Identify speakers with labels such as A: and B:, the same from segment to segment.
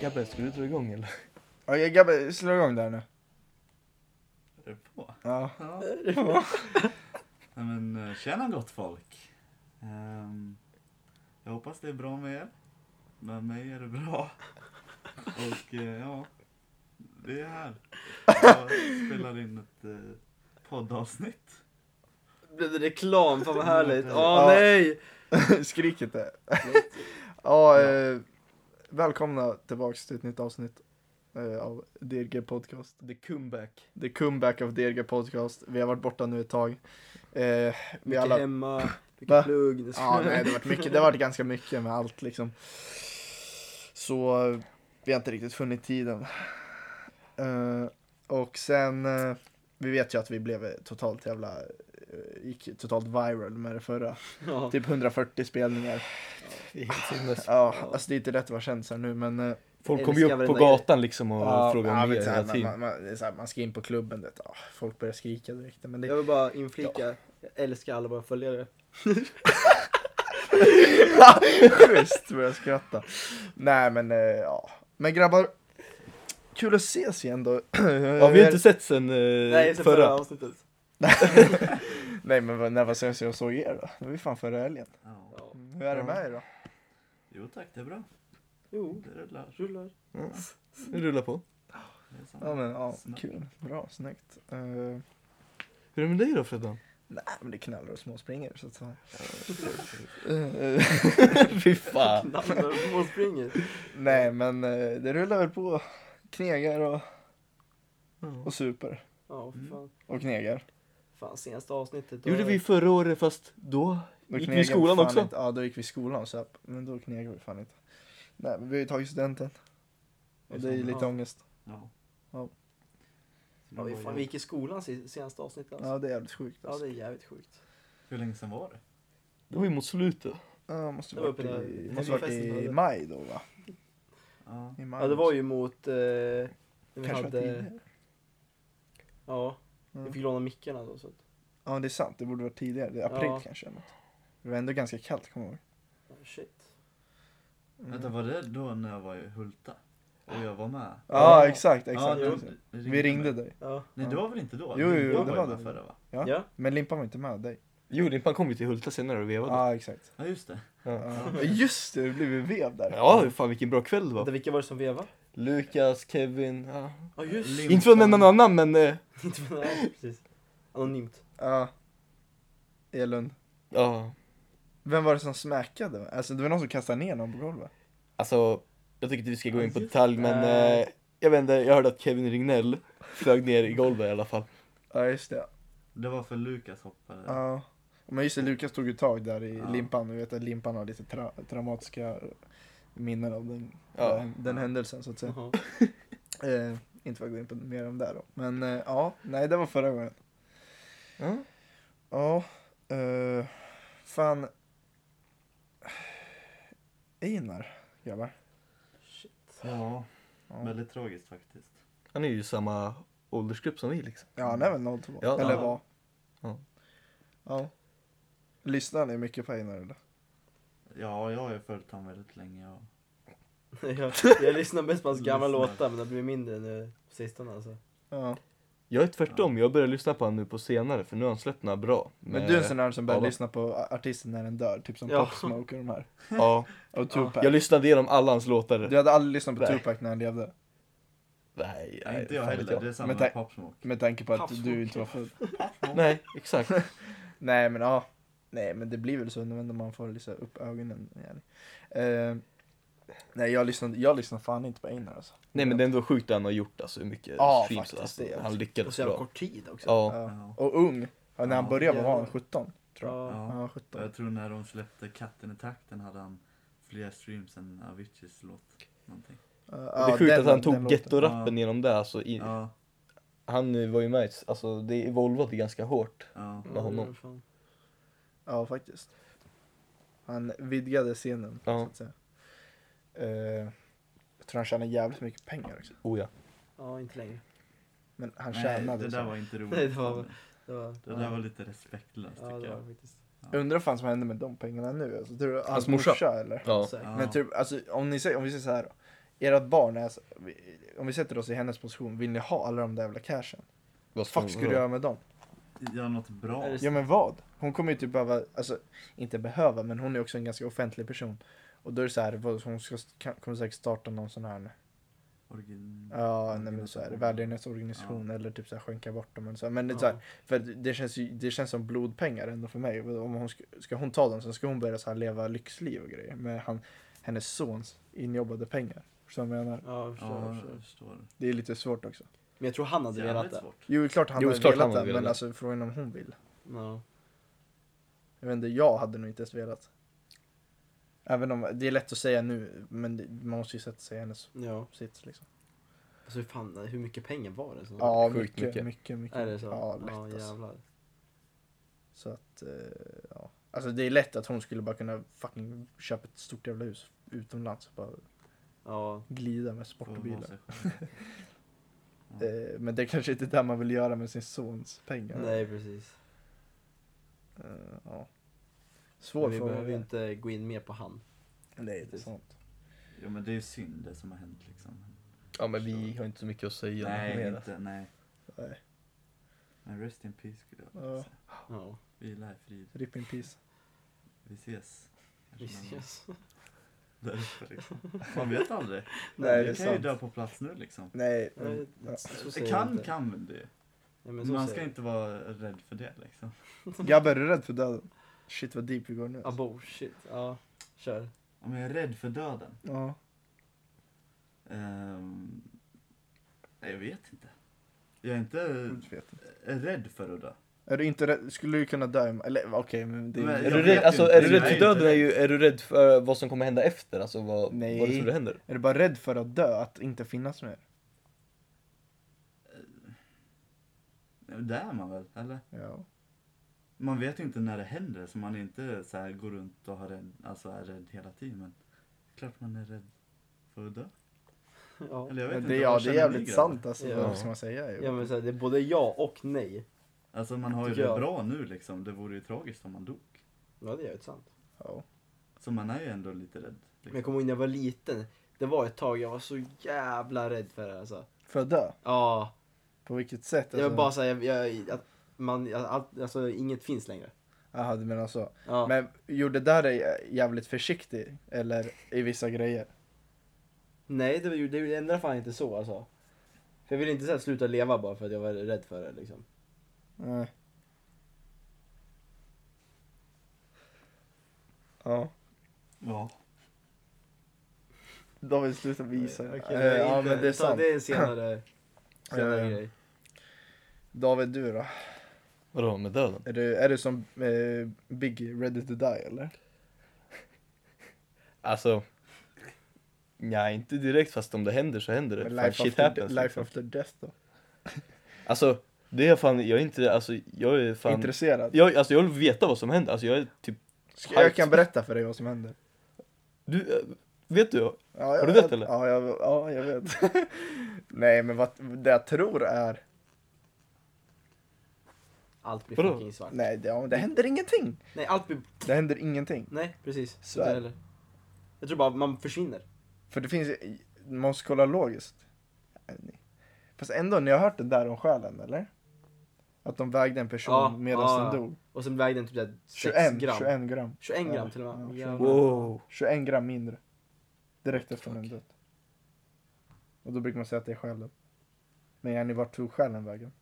A: Gabbe, ska du dra igång eller?
B: Okej Gabbe, slå igång där nu.
C: Är du på?
B: Ja.
C: Ja. Nej, men eh, tjena gott folk. Ehm, jag hoppas det är bra med er. Med mig är det bra. Och eh, ja, vi är här. Jag spelar in ett eh, poddavsnitt.
A: Blev det reklam? Fan vad härligt. Åh
B: Ja.
A: nej!
B: Skrik inte. ja, eh, välkomna tillbaks till ett nytt avsnitt eh, av DRG Podcast.
A: The comeback.
B: The comeback of DRG Podcast. Vi har varit borta nu ett tag. Eh, vi
D: Mycket
B: alla...
D: hemma, mycket
B: Va?
D: plugg. Det ska-
B: Ja, nej, det har varit mycket. Det har varit ganska mycket med allt liksom. Så eh, vi har inte riktigt funnit tiden. Eh, och sen, eh, vi vet ju att vi blev totalt jävla, eh, gick totalt viral med det förra.
D: Ja.
B: Typ 140 spelningar.
A: Det är helt sinnes.
B: Ja, alltså det är inte lätt att vara känd så här nu men... eh,
A: Folk
D: Älskar
A: kommer ju upp på
D: varenda
A: gatan liksom och
B: ja,
A: frågar
B: ja,
A: om
B: men
A: er
B: så här,
A: hela
B: man,
A: tiden.
B: man, man, det är så här, man ska in på klubben, det, ja, folk börjar skrika direkt. Men det,
D: Jag vill bara inflika, jag älskar alla våra följare.
B: Schysst, börjar skratta. Nej men eh, ja. Men grabbar, kul att ses igen då.
A: Ja, vi har inte sett sen eh,
D: Nej, sen
A: förra.
D: förra, avsnittet.
B: Nej men vad- när var senast jag såg er då? Det var ju fan förra helgen.
C: Ja.
D: Ja.
B: Hur är det
A: Ja.
B: med er då?
C: Jo tack, det är bra.
D: Jo,
C: Det rullar.
D: rullar.
A: Det rullar på.
C: Det är sant.
B: Ja men ja,
C: Snyggt.
B: kul. Bra, snyggt. Eh,
A: Hur är det med dig då Freddan?
B: nej men det knallar och småspringer så att säga. Eh,
A: Fy fan.
D: Knallar och småspringer.
B: Nej men eh, det rullar väl på. Knegar och,
A: Ja.
B: och super.
D: Ja, för fan.
B: Och knegar.
D: Fan, senaste avsnittet. då-
A: gjorde vi förra året fast då
B: Då
A: gick vi i
B: knegade
A: skolan
B: fan
A: också.
B: Inte. Ja, då gick vi i skolan och söp. Men då knegade vi fan inte. Nej, men vi har ju tagit studenten. Och det är ju
C: Ja.
B: lite ångest.
C: Ja.
B: Ja.
C: Så
D: Ja,
C: det
D: vi,
C: var
D: fan,
C: ju-
D: vi gick i skolan se- senaste avsnittet. Alltså.
B: Ja, det är jävligt sjukt
D: Ja,
B: alltså.
D: det är jävligt sjukt.
C: Hur länge sedan var det?
A: Det var ju mot slutet.
B: Ja, måste
D: Det
B: varit
D: var uppe där.
B: i,
D: Det
B: måste
D: var
B: varit
D: festen
B: i
D: då.
B: maj då va?
C: Ja.
B: I maj
D: Ja, det var ju mot... Eh, när vi
B: Kanske var
D: hade...
B: tidigare.
D: Ja, vi
B: Mm.
D: fick låna mickarna då. Så att,
B: Ja, det är sant. Det borde varit tidigare. Det är april
D: Ja.
B: kanske. Eller något. Det var ändå ganska kallt, kommer jag ihåg.
D: ja, shit.
B: Mm.
C: Vänta, var det då när jag var i Hulta? Och jag var med?
B: Ja, exakt. exakt.
C: Ja,
B: exakt.
C: du-
B: vi ringde dig.
D: Ja.
C: Nej, du var väl inte då?
B: Jo, jo, jo,
C: Jag
B: det
C: ju
B: var
C: med
B: det.
C: Förra, va?
B: Ja.
D: Ja.
B: Men Limpan var inte med dig.
A: Jo, Limpan kom ju till Hulta senare och vevade.
B: Ja, exakt.
C: Ja, just det.
A: Ja.
B: Ja. Just det, det blev ju vev där.
A: Ja, fan vilken bra kväll det
D: Vänta,
A: var.
D: vilka var det som vevade?
A: Lukas, Kevin, ja.
D: Ja, just
C: Lim-
A: Inte för att nämna någon annan men, eh,
D: Inte för nej, precis. Anonymt.
B: Ja. Elund.
A: ja.
B: Vem var det som smäckade? Alltså det var någon som kastade ner någon på golvet.
A: Alltså, jag tycker inte vi ska gå in på
C: Ja, just
A: detalj men,
D: det.
A: eh, jag vet inte, jag hörde att Kevin Ringnell flög ner i golvet i alla fall.
B: Ja just det.
C: Det var för Lukas hoppade.
B: Ja. Men just det, Lukas tog ju tag där i
C: Ja.
B: limpan. Vi vet att limpan har lite tra- traumatiska minnen av den,
A: Ja.
B: den, den händelsen så att säga.
D: Jaha.
B: Eh, inte för att gå in på mer om det då. Men eh, ja, nej det var förra gången.
A: Ja.
B: Ja, eh, fan. Einar, grabbar.
D: Shit.
C: Ja,
B: Ja,
C: väldigt tragiskt faktiskt.
A: Han är ju samma åldersgrupp som vi liksom.
B: ja han är väl 02?
A: Ja,
B: Eller
D: ja.
B: var?
A: Ja.
B: ja. Lyssnar ni mycket på Einar eller?
C: Ja, jag har ju följt honom väldigt länge. Och...
D: jag, jag lyssnar mest på hans gamla
C: Lyssnar.
D: låtar men det blir mindre nu på sistone alltså.
B: Ja.
A: Jag är tvärtom, jag börjar lyssna på honom nu på senare för nu har han släppt några bra.
B: Men du är en sån där som börjar
A: alla.
B: lyssna på a- artisten när den dör, typ som
D: Ja.
B: Pop Smoke och de här.
A: Ja,
B: Och Tupac.
A: jag lyssnade igenom alla hans låtar.
B: Du hade aldrig lyssnat på
A: Nej.
B: Tupac när han levde,
A: Nej,
C: Nej, inte jag
A: fan vet
C: heller. Det är samma
B: Men ta-
C: med Pop Smoke.
B: med tanke på att
D: Pop Smoke,
B: du inte var född.
A: Nej, exakt.
B: Nej men ja. Nej men det blir väl så, när man får lysa upp ögonen. igen. Eh, nej jag lyssnar, jag lyssnar fan inte på Einar alltså.
A: Nej men det är ändå sjukt det han har gjort alltså, hur mycket
B: Ja,
A: streams
B: faktiskt,
A: alltså.
B: det är-
A: Han
D: Och
A: lyckades
D: så jävla
A: bra.
D: kort tid också.
A: Ja.
B: Ja.
C: Ja.
B: Och ung. Ja, när han
C: Ja,
B: började var han
D: jävlar.
B: 17. Tror jag.
D: Ja.
B: Ja,
C: Ja. Och
B: 17.
C: Jag tror när de släppte Katten i takten hade han fler streams än Aviciis låt. Någonting.
A: Och det är sjukt att han tog gettorappen
C: Ja.
A: genom det alltså. I,
C: Ja,
A: Han eh, var ju med, i- alltså det evolvade ganska hårt.
C: ja.
D: Ja,
A: Med honom.
D: det är fan.
B: Ja, faktiskt. Han vidgade scenen,
A: Ja.
B: så att säga. Eh, jag tror han tjänar jävligt mycket pengar också.
A: Oh ja.
D: Ja, inte längre.
B: Men han
C: Nej,
B: tjänade.
C: det
B: så.
C: där var inte roligt.
D: Nej, det var- Det var,
C: Det där var lite respektlöst
D: ja,
C: tycker
D: det var
C: jag.
D: faktiskt.
B: Jag Undrar vad fan som händer med de pengarna nu. Alltså, tror du, hans,
A: morsa.
B: eller? typ,
A: ja.
D: Säkert.
C: Ja.
B: Men typ, alltså, om, ni säger, om vi säger så här då. ert barn är, så- om vi sätter oss i hennes position, vill ni ha alla de där jävla cashen?
A: Vad
B: Fuck skulle du göra med dem?
C: Gör något bra.
D: Är det-
B: Ja men vad? Hon kommer ju typ behöva, alltså inte behöva men hon är också en ganska offentlig person. Och då är det så här, vad- hon ska, kan- kommer säkert starta någon sån här,
C: Origin...
B: ja nej men så här, välgörenhetsorganisation eller typ så här skänka bort dem eller så här. Men det, är så här, för det känns ju, det känns som blodpengar ändå för mig. Om hon ska, ska hon ta dem så ska hon börja så här leva lyxliv och grejer med han, hennes sons injobbade pengar. Förstår du vad jag menar?
D: Ja, jag förstår,
C: Ja,
D: jag förstår.
C: jag förstår.
B: Det är lite svårt också.
D: Men jag tror han hade velat
C: Jävligt
D: det.
C: svårt.
B: Jo, det är klart han
A: Jo,
B: hade
A: klart
B: velat
A: han hade
B: det, men
A: velat.
B: alltså frågan är om hon vill.
D: Ja.
B: Jag vet inte, jag hade nog inte ens velat. Även om, det är lätt att säga nu, men det, man måste ju sätta sig i hennes
D: ja.
B: sits liksom.
D: Alltså hur fan, hur mycket pengar var det? Som
B: Ja,
A: sjukt
B: mycket, mycket,
A: mycket.
B: mycket,
D: Är det så?
B: Ja, lätt
D: ja,
B: alltså.
D: jävlar.
B: Så att, eh, ja. Alltså det är lätt att hon skulle bara kunna fucking köpa ett stort jävla hus utomlands och bara
D: Ja.
B: glida med
C: Får vara
B: sportbilar.
C: sig själv. Ja.
B: Eh, men det är kanske inte är det man vill göra med sin sons pengar.
D: Nej precis.
B: Eh, ja.
D: Men
B: Svår
D: vi
B: fråga.
D: behöver ju inte gå in mer på han.
B: Nej, det är sant.
C: Jo men det är ju synd det som har hänt liksom.
A: Ja men vi har inte så mycket att säga
C: Nej,
A: mer.
C: inte, nej.
B: Nej.
C: Men rest in peace skulle jag
B: Ja.
C: vilja säga.
D: Ja,
C: Vila i frid.
B: Rip in peace.
C: Vi ses.
D: vi
C: Mm.
D: ses.
B: Mm.
C: Där uppe liksom. Man vet aldrig.
B: Nej, det är
C: Vi kan ju
B: sant.
C: dö på plats nu liksom.
B: Nej, men-
D: Nej,
B: ja.
D: så
C: Det
D: säger jag
C: kan,
D: inte.
C: kan det.
D: Nej, men så
C: Man
D: säger
C: ska
D: jag.
C: inte vara rädd för det liksom.
B: Gabbe, är du rädd för döden? Shit vad deep vi går nu. alltså.
D: Abo, shit. Ja, kör.
C: Om jag är rädd för döden?
B: Ja.
C: Ehm, nej, jag vet inte. Jag är inte
B: Jag vet inte.
C: eh, rädd för att dö.
B: Är du inte rädd? Skulle du kunna dö? im- Eller okej, men det är...
C: Men
A: Är
C: jag
A: du,
C: vet
A: rädd,
C: inte.
A: alltså, är du
C: Jag
A: rädd
C: är
A: för
C: inte
A: döden? Är,
C: rädd.
A: ju, är du rädd för eh, vad som kommer hända efter? Alltså vad,
B: Nej.
A: vad du tror det händer?
B: Är du bara rädd för att dö? Att inte finnas mer?
C: Det är man väl, eller?
B: Ja.
C: Man vet ju inte när det händer så man är inte så här går runt och har rädd, alltså är rädd hela tiden. Men det är klart man är rädd för att dö.
D: Ja.
C: Eller jag vet
B: Men
C: inte.
B: det,
C: vad
B: ja, det är
C: känner ni,
B: jävligt
C: grabbar?
B: sant alltså.
D: Ja.
B: Vad ska man säga?
D: ja men så här, det är både ja och nej.
C: Alltså man har ju
D: Tycker
C: det
D: jag.
C: bra nu liksom. Det vore ju tragiskt om man dog.
D: Ja det är ju sant.
B: Ja.
C: Så man är ju ändå lite rädd.
D: Men
C: Liksom.
D: jag kommer ihåg när jag var liten. Det var ett tag jag var så jävla rädd för det alltså.
B: För att dö?
D: Ja,
B: På vilket sätt? Alltså,
D: jag var bara såhär, jag, jag, att man, allt, alltså inget finns längre.
B: Jaha, du menar så.
D: Ja.
B: Men gjorde där dig jävligt försiktig? Eller i vissa grejer?
D: Nej, det, var ju- det ändrar fan inte så alltså. För jag ville inte så här, sluta leva bara för att jag var rädd för det liksom.
B: Nej. Ja.
C: Ja.
B: David, sluta visa.
D: Okej,
B: Eh,
D: jag
B: ja,
D: inte-
B: men det är
D: ta-
B: sant.
D: Det är en senare, senare
B: Eh,
D: grej.
B: David, du då?
A: Vadå med döden?
B: Är du, är du som eh, Biggie, ready to die eller?
A: Alltså, nej inte direkt fast om det händer så händer det.
B: Men
A: Fan,
B: life
A: shit
B: after,
A: happens.
B: life
A: liksom.
B: after death då?
A: Alltså, det är fan, jag är inte, alltså jag är fan.
B: Intresserad?
A: Jag, alltså jag vill veta vad som händer, alltså jag är typ,
B: Ska, jag kan berätta för dig vad som händer.
A: du, eh, vet du?
B: Ja,
A: Har du
B: jag-
A: vett, eller?
B: Ja, jag, ja, jag vet. Nej, men vad, det jag tror är...
D: Allt blir
A: vadå?
D: fucking svart. Nej.
B: Nej, det, ja, det händer ingenting.
D: allt blir...
B: Det händer ingenting.
D: Nej, precis.
B: Så
D: Inte
B: är det.
D: heller. Jag tror bara man försvinner.
B: För det finns ju- man måste kolla logiskt. Fast ändå, ni har hört den där om själen, eller? Att de vägde en person
D: Ja,
B: medan
D: ja, ja.
B: den dog.
D: Och sen vägde den typ där 6
B: 21
D: gram. 21,
B: 21 gram.
D: gram
B: Ja,
D: till och med.
B: ja,
D: Jävlar.
A: Wow.
B: 21 gram mindre. Direkt efter
A: Fuck.
B: den dött. Och då brukar man säga att det är själen. Men Jenny, vart tog själen vägen?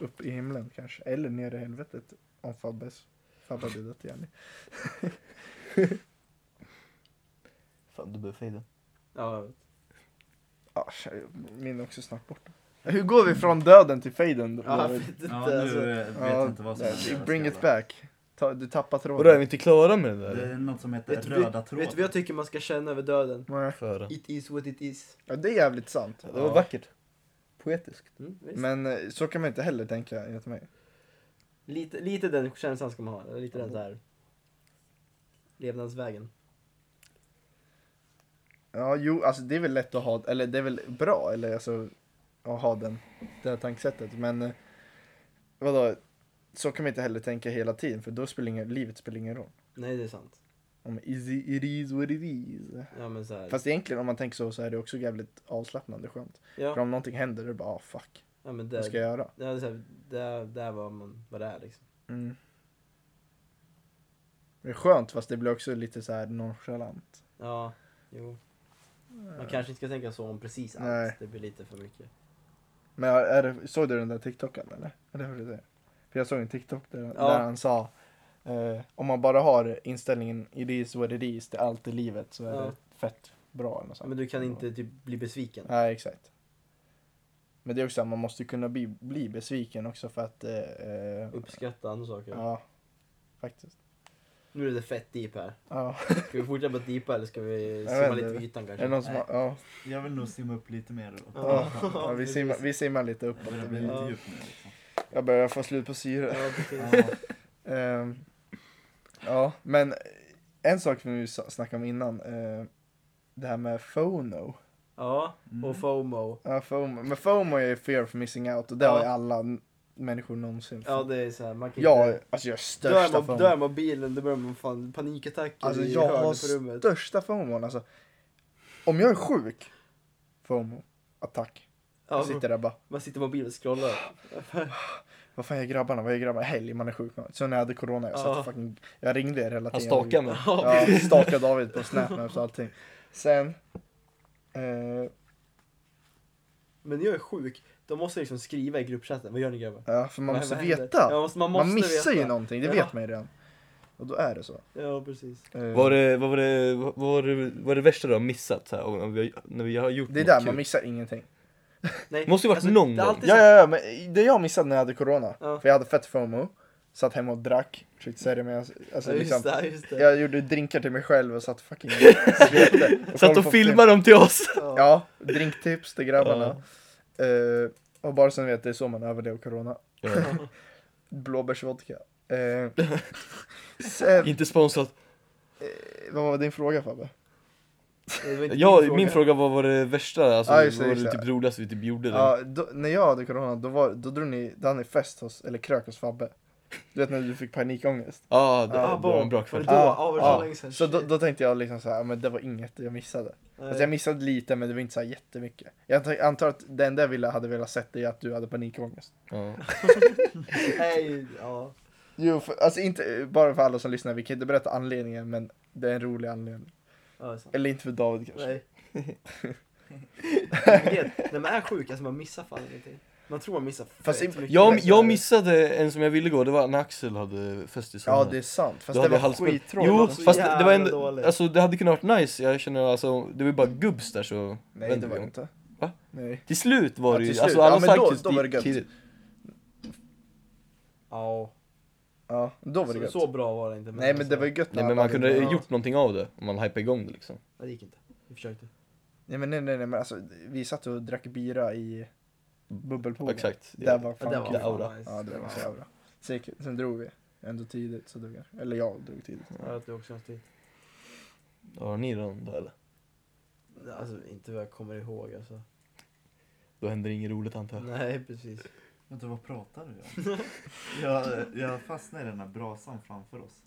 B: Upp i himlen kanske, eller ner i helvetet om Fabbes Fabbe hade dött Jenny.
A: Fan du behöver fejda.
D: Ja, jag vet.
B: Ah, tjej, min är också snart borta. Hur går vi från döden till fejden?
D: ja, jag
B: David?
D: vet inte
C: Ja, nu
D: alltså.
C: eh, vet jag inte vad som
B: nej,
C: händer.
B: Bring it
C: Jag ska-
B: back. Ta, du tappar
A: Och då är
B: tråden.
A: vi inte klara med det
C: Det
A: där?
C: är något som heter
D: Vet du,
C: röda
D: vet, vet
C: tråden.
D: du vad jag tycker man ska känna över döden?
B: Nej.
A: Före.
D: It is what it is.
B: Ja, det är jävligt sant.
A: Det var vackert. Poetiskt.
D: Mm, visst.
B: Men eh, så kan man inte heller tänka enligt mig.
D: lite, lite den känslan ska man ha. Lite den där levnadsvägen.
B: Ja, jo, alltså det är väl lätt att ha, eller det är väl bra, eller alltså att ha den, det här tankesättet. Men eh, vadå, så kan man inte heller tänka hela tiden för då spelar ingen, livet spelar ingen roll.
D: Nej, det är sant.
B: Om is it is what it is.
D: Ja men såhär.
B: Fast egentligen om man tänker så, så är det också jävligt avslappnande skönt. För
D: Ja,
B: om någonting händer, då är det bara ah fuck,
D: ja men
B: vad
D: det,
B: ska jag göra?
D: ja, det, är så här, det, det är vad, man, vad det är liksom.
B: Mm. Det är skönt fast det blir också lite så här nonchalant.
D: Ja, jo. Man kanske inte ska tänka så om precis allt.
B: Nej.
D: Det blir lite för mycket.
B: Men jag- är det, såg du den där TikToken eller? Är det vad du säger? För jag såg en TikTok där, där han sa eh, om man bara har inställningen it is what it is till allt i livet så är
D: Ja.
B: det fett bra. Eller något sånt.
D: Men du kan inte typ bli besviken.
B: Nej, exakt. Men det är också att man måste ju kunna bli, bli besviken också för att... Eh, eh,
D: Uppskatta andra saker.
B: ja, faktiskt.
D: Nu är det fett deep här.
B: Ja,
D: Ska vi fortsätta på deepa eller ska vi
B: Jag
D: simma
B: vet
D: lite
B: inte.
D: vid ytan
B: är
D: kanske?
B: det någon som har, ja,
C: Jag vill nog simma upp lite mer då.
B: ja,
D: Ja,
B: ja, vi,
D: precis.
B: simmar, vi simmar lite
C: Jag
B: uppåt.
C: börjar bli lite djup nu liksom.
B: Jag börjar få slut på syre.
D: Ja, precis.
B: Ehm, ja, men en sak vi nu sa- snackade om innan. eh, det här med FOMO.
D: ja,
C: Mm.
D: och FOMO.
B: Ja, FOMO. Men FOMO är ju fear of missing out och det
D: Ja.
B: har ju alla n- människor någonsin
D: Ja
B: fått.
D: det är såhär, man kan
B: Jag,
D: inte...
B: alltså jag har
D: Dör,
B: största
D: man,
B: FOMO.
D: dör mobilen då börjar man fan panikattacker
B: Alltså
D: i
B: jag har
D: hörnet på rummet.
B: största FOMO. Alltså, om jag är sjuk, FOMO, attack.
D: Ja,
B: Jag sitter där bara,
D: Man sitter på mobilen och scrollar.
B: vad fan är grabbarna, vad är grabbarna, helg, man är sjuk. Så när jag hade corona, jag, satt
D: Ja.
B: fucking, jag ringde er hela
A: Han
B: tiden.
A: stakar mig.
B: Ja, stakade David på Snapmaps och allting. Sen, eh,
D: Men jag är sjuk, då måste jag liksom skriva i gruppchatten, vad gör ni grabbar?
B: ja, för man
D: Vad-
B: måste
D: vad händer?
B: veta.
D: Ja, måste, man, måste
B: man missar
D: veta.
B: ju någonting, det
D: Ja.
B: vet man ju redan. Och då är det så.
D: Ja precis.
B: Eh,
A: Vad var det, vad var det, vad var det, vad var det värsta du har missat? Så här, om vi, har- när vi har gjort
B: det är
A: något
B: där,
A: kul?
B: man missar ingenting.
D: Nej, alltså,
A: Det måste ju varit någon
D: det är
A: gång.
D: alltid
B: Ja,
D: så-
B: ja, ja, men det jag missade när jag hade corona,
D: Ja.
B: för jag hade fett FOMO, satt hemma och drack, försökte sälja mig, alltså,
D: Ja,
B: liksom,
D: just det, just det.
B: jag gjorde drinkar till mig själv och satt fucking svepte.
A: Satt
B: kollade på
A: och filmade dem till oss!
B: film.
D: Ja.
B: Ja, drinktips till grabbarna. Eh, och bara så ni vet, det är så man överlever corona. Blåbärsvodka. Eh, sen,
A: Inte sponsrat.
B: vad var din fråga Fabbe?
D: Det var inte
A: Ja,
D: din
A: min fråga var vad var det värsta, alltså
B: Ja,
A: vad
B: just det,
A: var
B: just
A: det
B: det.
A: typ roligaste vi typ gjorde?
B: Ja, då, när jag hade corona, då, var, då drog ni, då hade ni fest hos, eller krök hos Fabbe. Du vet när du fick panikångest.
A: Ja, det
D: Ja,
A: var
D: bara-
A: en bra
D: var
A: kväll.
D: det då? Ja, det var så
B: ja.
D: länge sedan.
B: Så då, då tänkte jag liksom så här, men det var inget jag missade.
D: Nej.
B: Alltså jag missade lite men det var inte så här jättemycket. Jag antar, antar att det enda jag ville, hade velat sett det är att du hade panikångest.
A: Ja.
D: Nej, ja.
B: Jo, för, alltså inte bara för alla som lyssnar, vi kan inte berätta anledningen men det är en rolig anledning.
D: ja det är sant.
B: Eller inte för David kanske.
D: Nej. Men det- När man är sjuk, alltså man missar fan ingenting. Man tror man missar
B: Fast
D: fett
B: i-
D: mycket.
A: Jag,
B: Men så är
A: jag
B: det.
A: missade en som jag ville gå, det var när Axel hade fest i
B: Ja
A: sommar.
B: det är sant, fast
A: Då
B: det
A: hade jag
B: var
A: halsbrott.
B: skittråkigt.
A: Jo,
D: Så
A: fast det var
D: jävla
A: ändå,
D: dåligt.
A: alltså det hade kunnat varit nice, jag känner alltså, det var ju bara gubbs där så
B: Nej det
A: vände
B: var
A: vi
B: det
A: om.
B: inte.
A: Va?
B: Nej.
A: Till slut var
B: Ja,
A: det
B: till
A: ju,
B: slut.
A: alltså
B: Ja, men
A: alla
B: då-
A: sagt
B: då var det gött.
A: tidigt.
D: Ja,
B: Ja, då var det
D: så,
B: gött.
D: så bra var det inte. alltså-
B: Nej men det Oh, var ju gött när
A: Nej men
B: alla
A: man
B: hade
A: kunde
B: corona.
A: ha gjort någonting av det, om man hypade igång det liksom.
D: Nej, det gick inte. Vi försökte.
B: Nej men nej nej, nej men alltså vi satt och drack bira i bubbelpoolen.
A: Exakt.
B: Där var fan
D: det var
B: kul.
D: fan
A: aura.
D: nice.
B: Ja det var så jävla. Sen, gick- sen drog vi. Ändå tidigt så drog jag. Eller jag drog tidigt.
D: Ja, jag tror också att det-
A: Har ni någon då eller?
D: Alltså inte vad jag kommer ihåg alltså.
A: Då händer inget roligt antar jag.
D: Nej precis.
C: Vänta, vad pratar du om? jag, jag fastnar i den här brasan framför oss.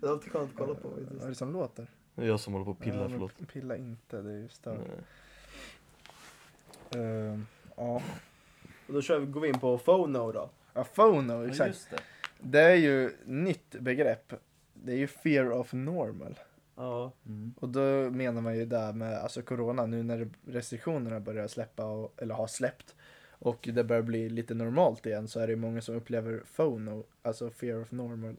D: Det har inte kunnat kolla på
B: Vad
D: faktiskt.
B: är det som låter?
A: Det är jag som håller på och
B: Ja,
A: pillar,
B: men
A: förlåt.
B: Pilla inte, det är ju stört.
A: Nej.
B: Ehm, Ja,
D: Och då kör vi, går vi in på FONO då.
B: Ja, FONO,
C: Ja,
B: exakt.
C: just det.
B: Det är ju nytt begrepp. Det är ju fear of normal.
D: Ja.
C: Mm.
B: Och då menar man ju där med alltså corona nu när restriktionerna börjar släppa och, eller har släppt och det börjar bli lite normalt igen så är det ju många som upplever FONO, alltså fear of normal,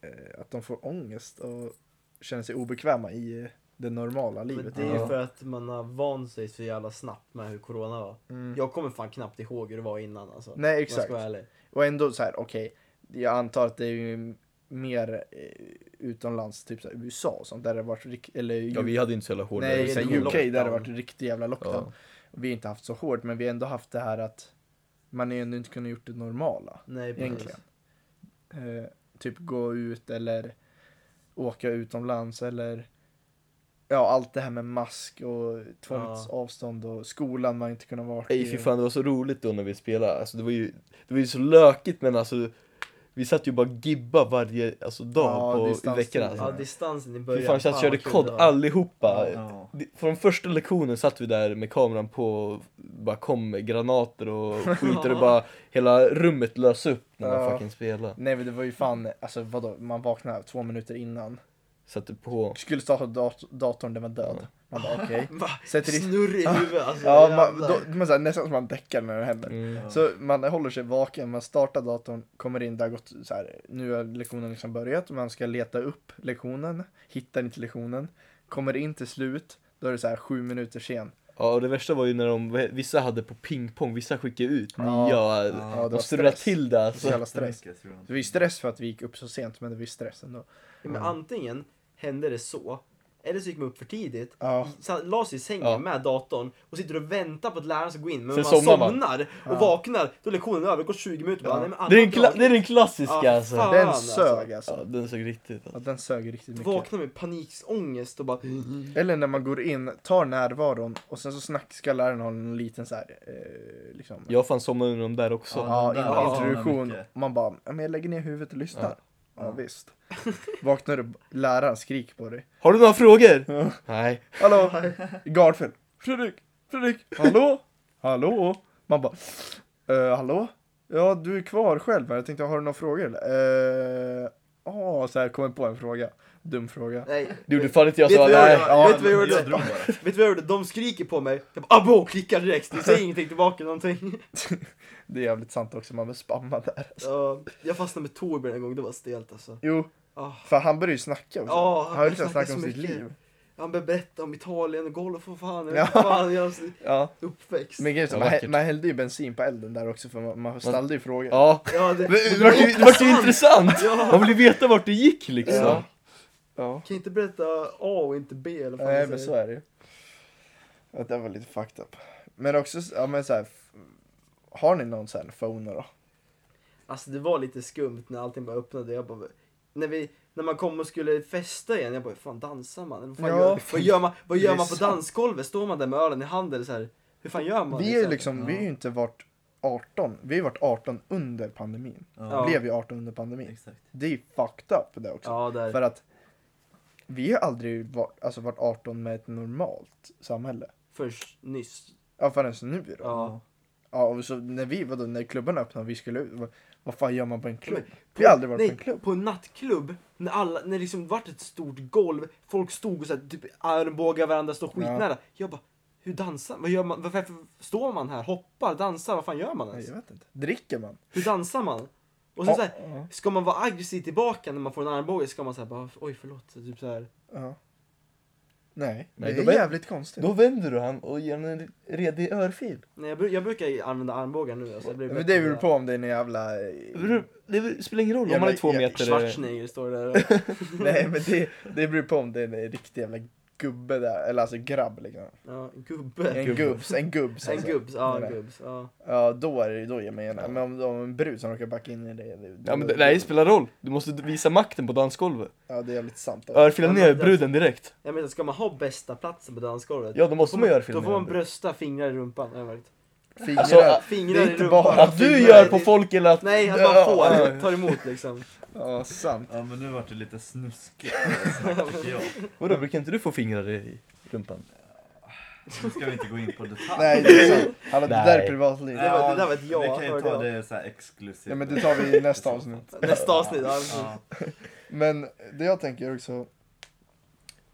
B: eh, att de får ångest och känner sig obekväma i det normala
D: Men
B: livet.
D: det är ju
A: Ja.
D: för att man har vant sig så jävla snabbt med hur corona var.
B: Mm.
D: Jag kommer fan knappt ihåg hur det var innan alltså. Om
B: Nej
D: jag ska
B: exakt.
D: vara ärlig.
B: Och ändå så här, okej, jag antar att det är ju mer eh, utomlands, typ så här, USA och sånt, där det har varit rikt- eller
A: Ja vi hade inte så jävla hårda
B: Nej, så här,
A: restriktioner.
B: UK
D: lockdown.
B: där det har varit riktig jävla lockdown.
A: Ja.
B: Vi har inte haft så hårt, men vi har ändå haft det här att man har ju ändå inte kunnat gjort det normala.
D: Nej precis.
B: Egentligen. Eh, typ gå ut eller åka utomlands eller ja, allt det här med mask och tvångs
D: Ja.
B: avstånd och skolan man inte kunnat vara
A: Nej
B: i.
A: fy fan det var så roligt då när vi spelade, alltså det var ju, det var ju så lökigt men alltså Vi satt ju bara gibba varje alltså, dag
B: Ja,
A: på, i veckan
B: distansstudier.
A: alltså.
D: Ja, distansen i
A: Fy
D: början.
A: fan, så att
D: vad
A: körde
D: kul
A: kod
D: det var.
A: allihopa.
C: Ja.
A: Det- Från första lektionen satt vi där med kameran på och bara kom med granater och skit och det bara hela rummet lös upp när man
B: Ja.
A: fucking spelade.
B: Nej men det var ju fan, alltså vadå, man vaknade två minuter innan.
A: Satte på.
B: Skulle starta dat- datorn, den var död. Man bara okej.
D: Va?
B: Sätter i...
D: Snurr i huvudet alltså.
B: Ja, man,
D: jävlar.
B: då, man, så här, nästan som man däckar när det händer.
A: Mm.
B: Så man håller sig vaken, man startar datorn, kommer in, där har gått så här, nu har lektionen liksom börjat, man ska leta upp lektionen, hittar inte lektionen, kommer in till slut, då är det så här sju minuter sen.
A: Ja, och det värsta var ju när de, vissa hade på pingpong, vissa skickade ut
B: Ja.
A: nya.
C: Ja,
B: det var
A: de strulade
B: stress.
A: till det
B: Så
A: alltså.
B: jävla stress.
C: Mycket, tror jag.
B: Det var ju stress för att vi gick upp så sent, men det var ju stress ändå.
D: Ja, men antingen hände det så, eller så gick man upp för tidigt,
B: Ja.
D: sa- la sig i sängen
A: Ja.
D: med datorn och sitter och väntar på att läraren ska gå in. Men
A: Sen
D: man
A: somnar
D: somnar,
A: man.
D: och vaknar, då är lektionen över, det går 20 minuter bara.
B: Ja.
D: Nej, men alla
A: Det är, den
D: drar.
A: kla- det är den klassiska
D: Ja,
A: alltså.
D: fan.
B: Den
D: alltså.
B: sög
A: Ja,
B: alltså.
A: den såg riktigt
B: Ja,
A: alltså.
B: den sög riktigt mycket.
D: Vaknar med panikångest och bara...
B: Eller när man går in, tar närvaron och sen så snack, ska läraren ha en liten så här, eh, liksom,
A: Jag fan somnade under dem där också.
B: ja,
C: den där
B: in-
D: var
B: introduktion.
C: mycket.
B: Man bara, ja, men jag lägger ner huvudet och lyssnar. Ja, visst. Vaknar du, läraren skriker på dig.
A: Har du några frågor?
B: Ja.
A: Nej.
B: Hallå! Gardfel. Fredrik! Fredrik! Hallå? Hallå? Man bara, eh, hallå? Ja, du är kvar själv här. Jag tänkte, har du några frågor eller? Eh, Ja, så här kommer på en fråga. Dum fråga.
D: Nej.
A: Det gjorde fan inte jag.
D: Vet
A: Så,
D: du vad
A: nej.
D: jag-
B: ja,
D: vet du vad jag
C: Jag
D: gjorde?
C: drog bara.
D: Vet du vad jag gjorde? De skriker på mig. Jag bara abo! Klickar direkt. Jag säger ingenting tillbaka någonting.
B: Det är jävligt sant också, man blir spammad där.
D: Ja, jag fastnade med Torbjörn en gång, det var stelt alltså.
B: Jo,
D: Ah.
B: för han börjar ju snacka också.
D: Ja,
B: han
D: han
B: har ju liksom
D: snackar
B: snackat om
D: så
B: sitt
D: mycket.
B: liv.
D: Han började berätta om Italien och golf och fan, jag
B: Ja.
D: vet inte fan, jag hans
B: Ja.
D: uppväxt.
B: Men grejen är så,
A: Ja,
B: man, hä-
A: vackert.
B: man hällde ju bensin på elden där också för man, man ställde ju frågor.
A: Ja.
D: Ja, det,
A: Det vart ju- det vart ju intressant. Man
D: ja.
A: vill ju veta vart det gick liksom.
B: Ja. Ja.
D: Kan inte berätta A och inte B eller vad fan
B: Nej
D: jag
B: men så
D: säger.
B: är det ju. Ja, det var lite fucked up. Men också, ja men så här, f- Har ni någon sån här phone då?
D: Alltså det var lite skumt när allting bara öppnade. Jag bara, när, vi, när man kom och skulle festa igen, jag bara, hur fan dansar man? Eller vad, fan gör, vad
B: Ja.
D: gör man, vad
B: Det
D: gör
B: är
D: man på
B: sant.
D: dansgolvet? Står man där med ölen i handen så här, hur fan gör man?
B: Vi är ju liksom, vi är ju
C: Ja.
B: inte varit 18, vi har ju varit 18 under pandemin.
D: Ja.
B: Blev ju 18 under pandemin.
C: Exakt.
B: Det är ju fucked up det också.
D: Ja, där.
B: För att vi har aldrig varit, alltså, varit 18 med ett normalt samhälle.
D: Först nyss.
B: Ja förrän nu då. Ja.
D: Ja.
B: och så när vi, vadå, när klubbarna öppnade och vi skulle ut, vad, vad fan gör man på en klubb?
D: På-
B: Vi har aldrig varit
D: nej,
B: på en klubb.
D: På en nattklubb, när, alla, när det liksom vart ett stort golv, folk stod och så här, typ armbågade varandra, stod skitnära. Jag bara, hur dansar man? Vad gör man? Varför står man här? Hoppar, dansar? Vad fan gör man
B: Nej,
D: ens?
B: jag vet inte. Dricker man?
D: Hur dansar man? Och sen så här,
B: ja.
D: ska man vara aggressiv tillbaka när man får en armbåge ska man säga bara oj förlåt, så typ så här.
B: Ja. Nej,
A: Nej,
B: det
A: då
B: är
A: vet-
B: jävligt konstigt.
A: Då vänder du han och ger honom en redig örfil.
D: Nej, jag, bru- jag brukar använda armbågar nu alltså, jag blir
B: Men
D: bättre
B: det är
D: på
B: väl på om det är en jävla...
A: Det spelar ingen roll om
B: Jävla-
A: man är två
B: jävla-
A: meter.
D: Schwarzenegger står där.
B: Nej men det, det beror på om det är en riktig jävla gubbe där, eller alltså grabb liksom.
D: Ja, en
B: En
D: gubbe.
A: Gubbe.
B: gubbs, en gubbs
D: En
B: alltså.
D: gubbs, ja
B: Nej,
D: en
B: nej.
D: gubbs. Ja.
B: Ja då är det då ger man gärna. Men om, om en brud som råkar backa in i det. det
A: Ja men det, nej, det spelar roll. Du måste visa makten på dansgolvet.
B: Ja det är jävligt sant.
A: Örfila
D: Ja, men
A: ner
D: det-
A: bruden direkt.
D: Jag menar, ska man ha bästa platsen på dansgolvet?
A: Ja, då måste
D: Då får
A: man ju
D: man-
A: örfila
D: Då
A: ner
D: får man
A: den.
D: brösta fingrar i rumpan. har jag varit.
B: Fingrar.
A: Alltså, att-
B: äh, Det
D: Fingrar
B: är
D: i
B: inte
D: rumpan.
B: bara-
A: Att du
D: Fingrar-
A: gör på
D: det-
A: folk eller att...
D: Nej, han bara
A: Ja, ja,
D: får.
A: ja.
D: Tar emot liksom.
B: Ja sant.
C: Ja men nu vart det lite snuskigt snack tycker jag.
A: Vadå, brukar inte du få fingrar i rumpan?
C: Nu ska vi inte gå in på detalj.
B: Nej det är sant. Hallå, det där är
A: Nej.
B: privatliv.
D: Nej. var- det där var ett ja,
C: Vi kan ju
D: hörde
C: ta
D: jag.
C: det så här exklusivt.
B: Ja men det tar vi i nästa avsnitt.
D: Nästa avsnitt. Ja.
C: Ja.
B: Men det jag tänker också.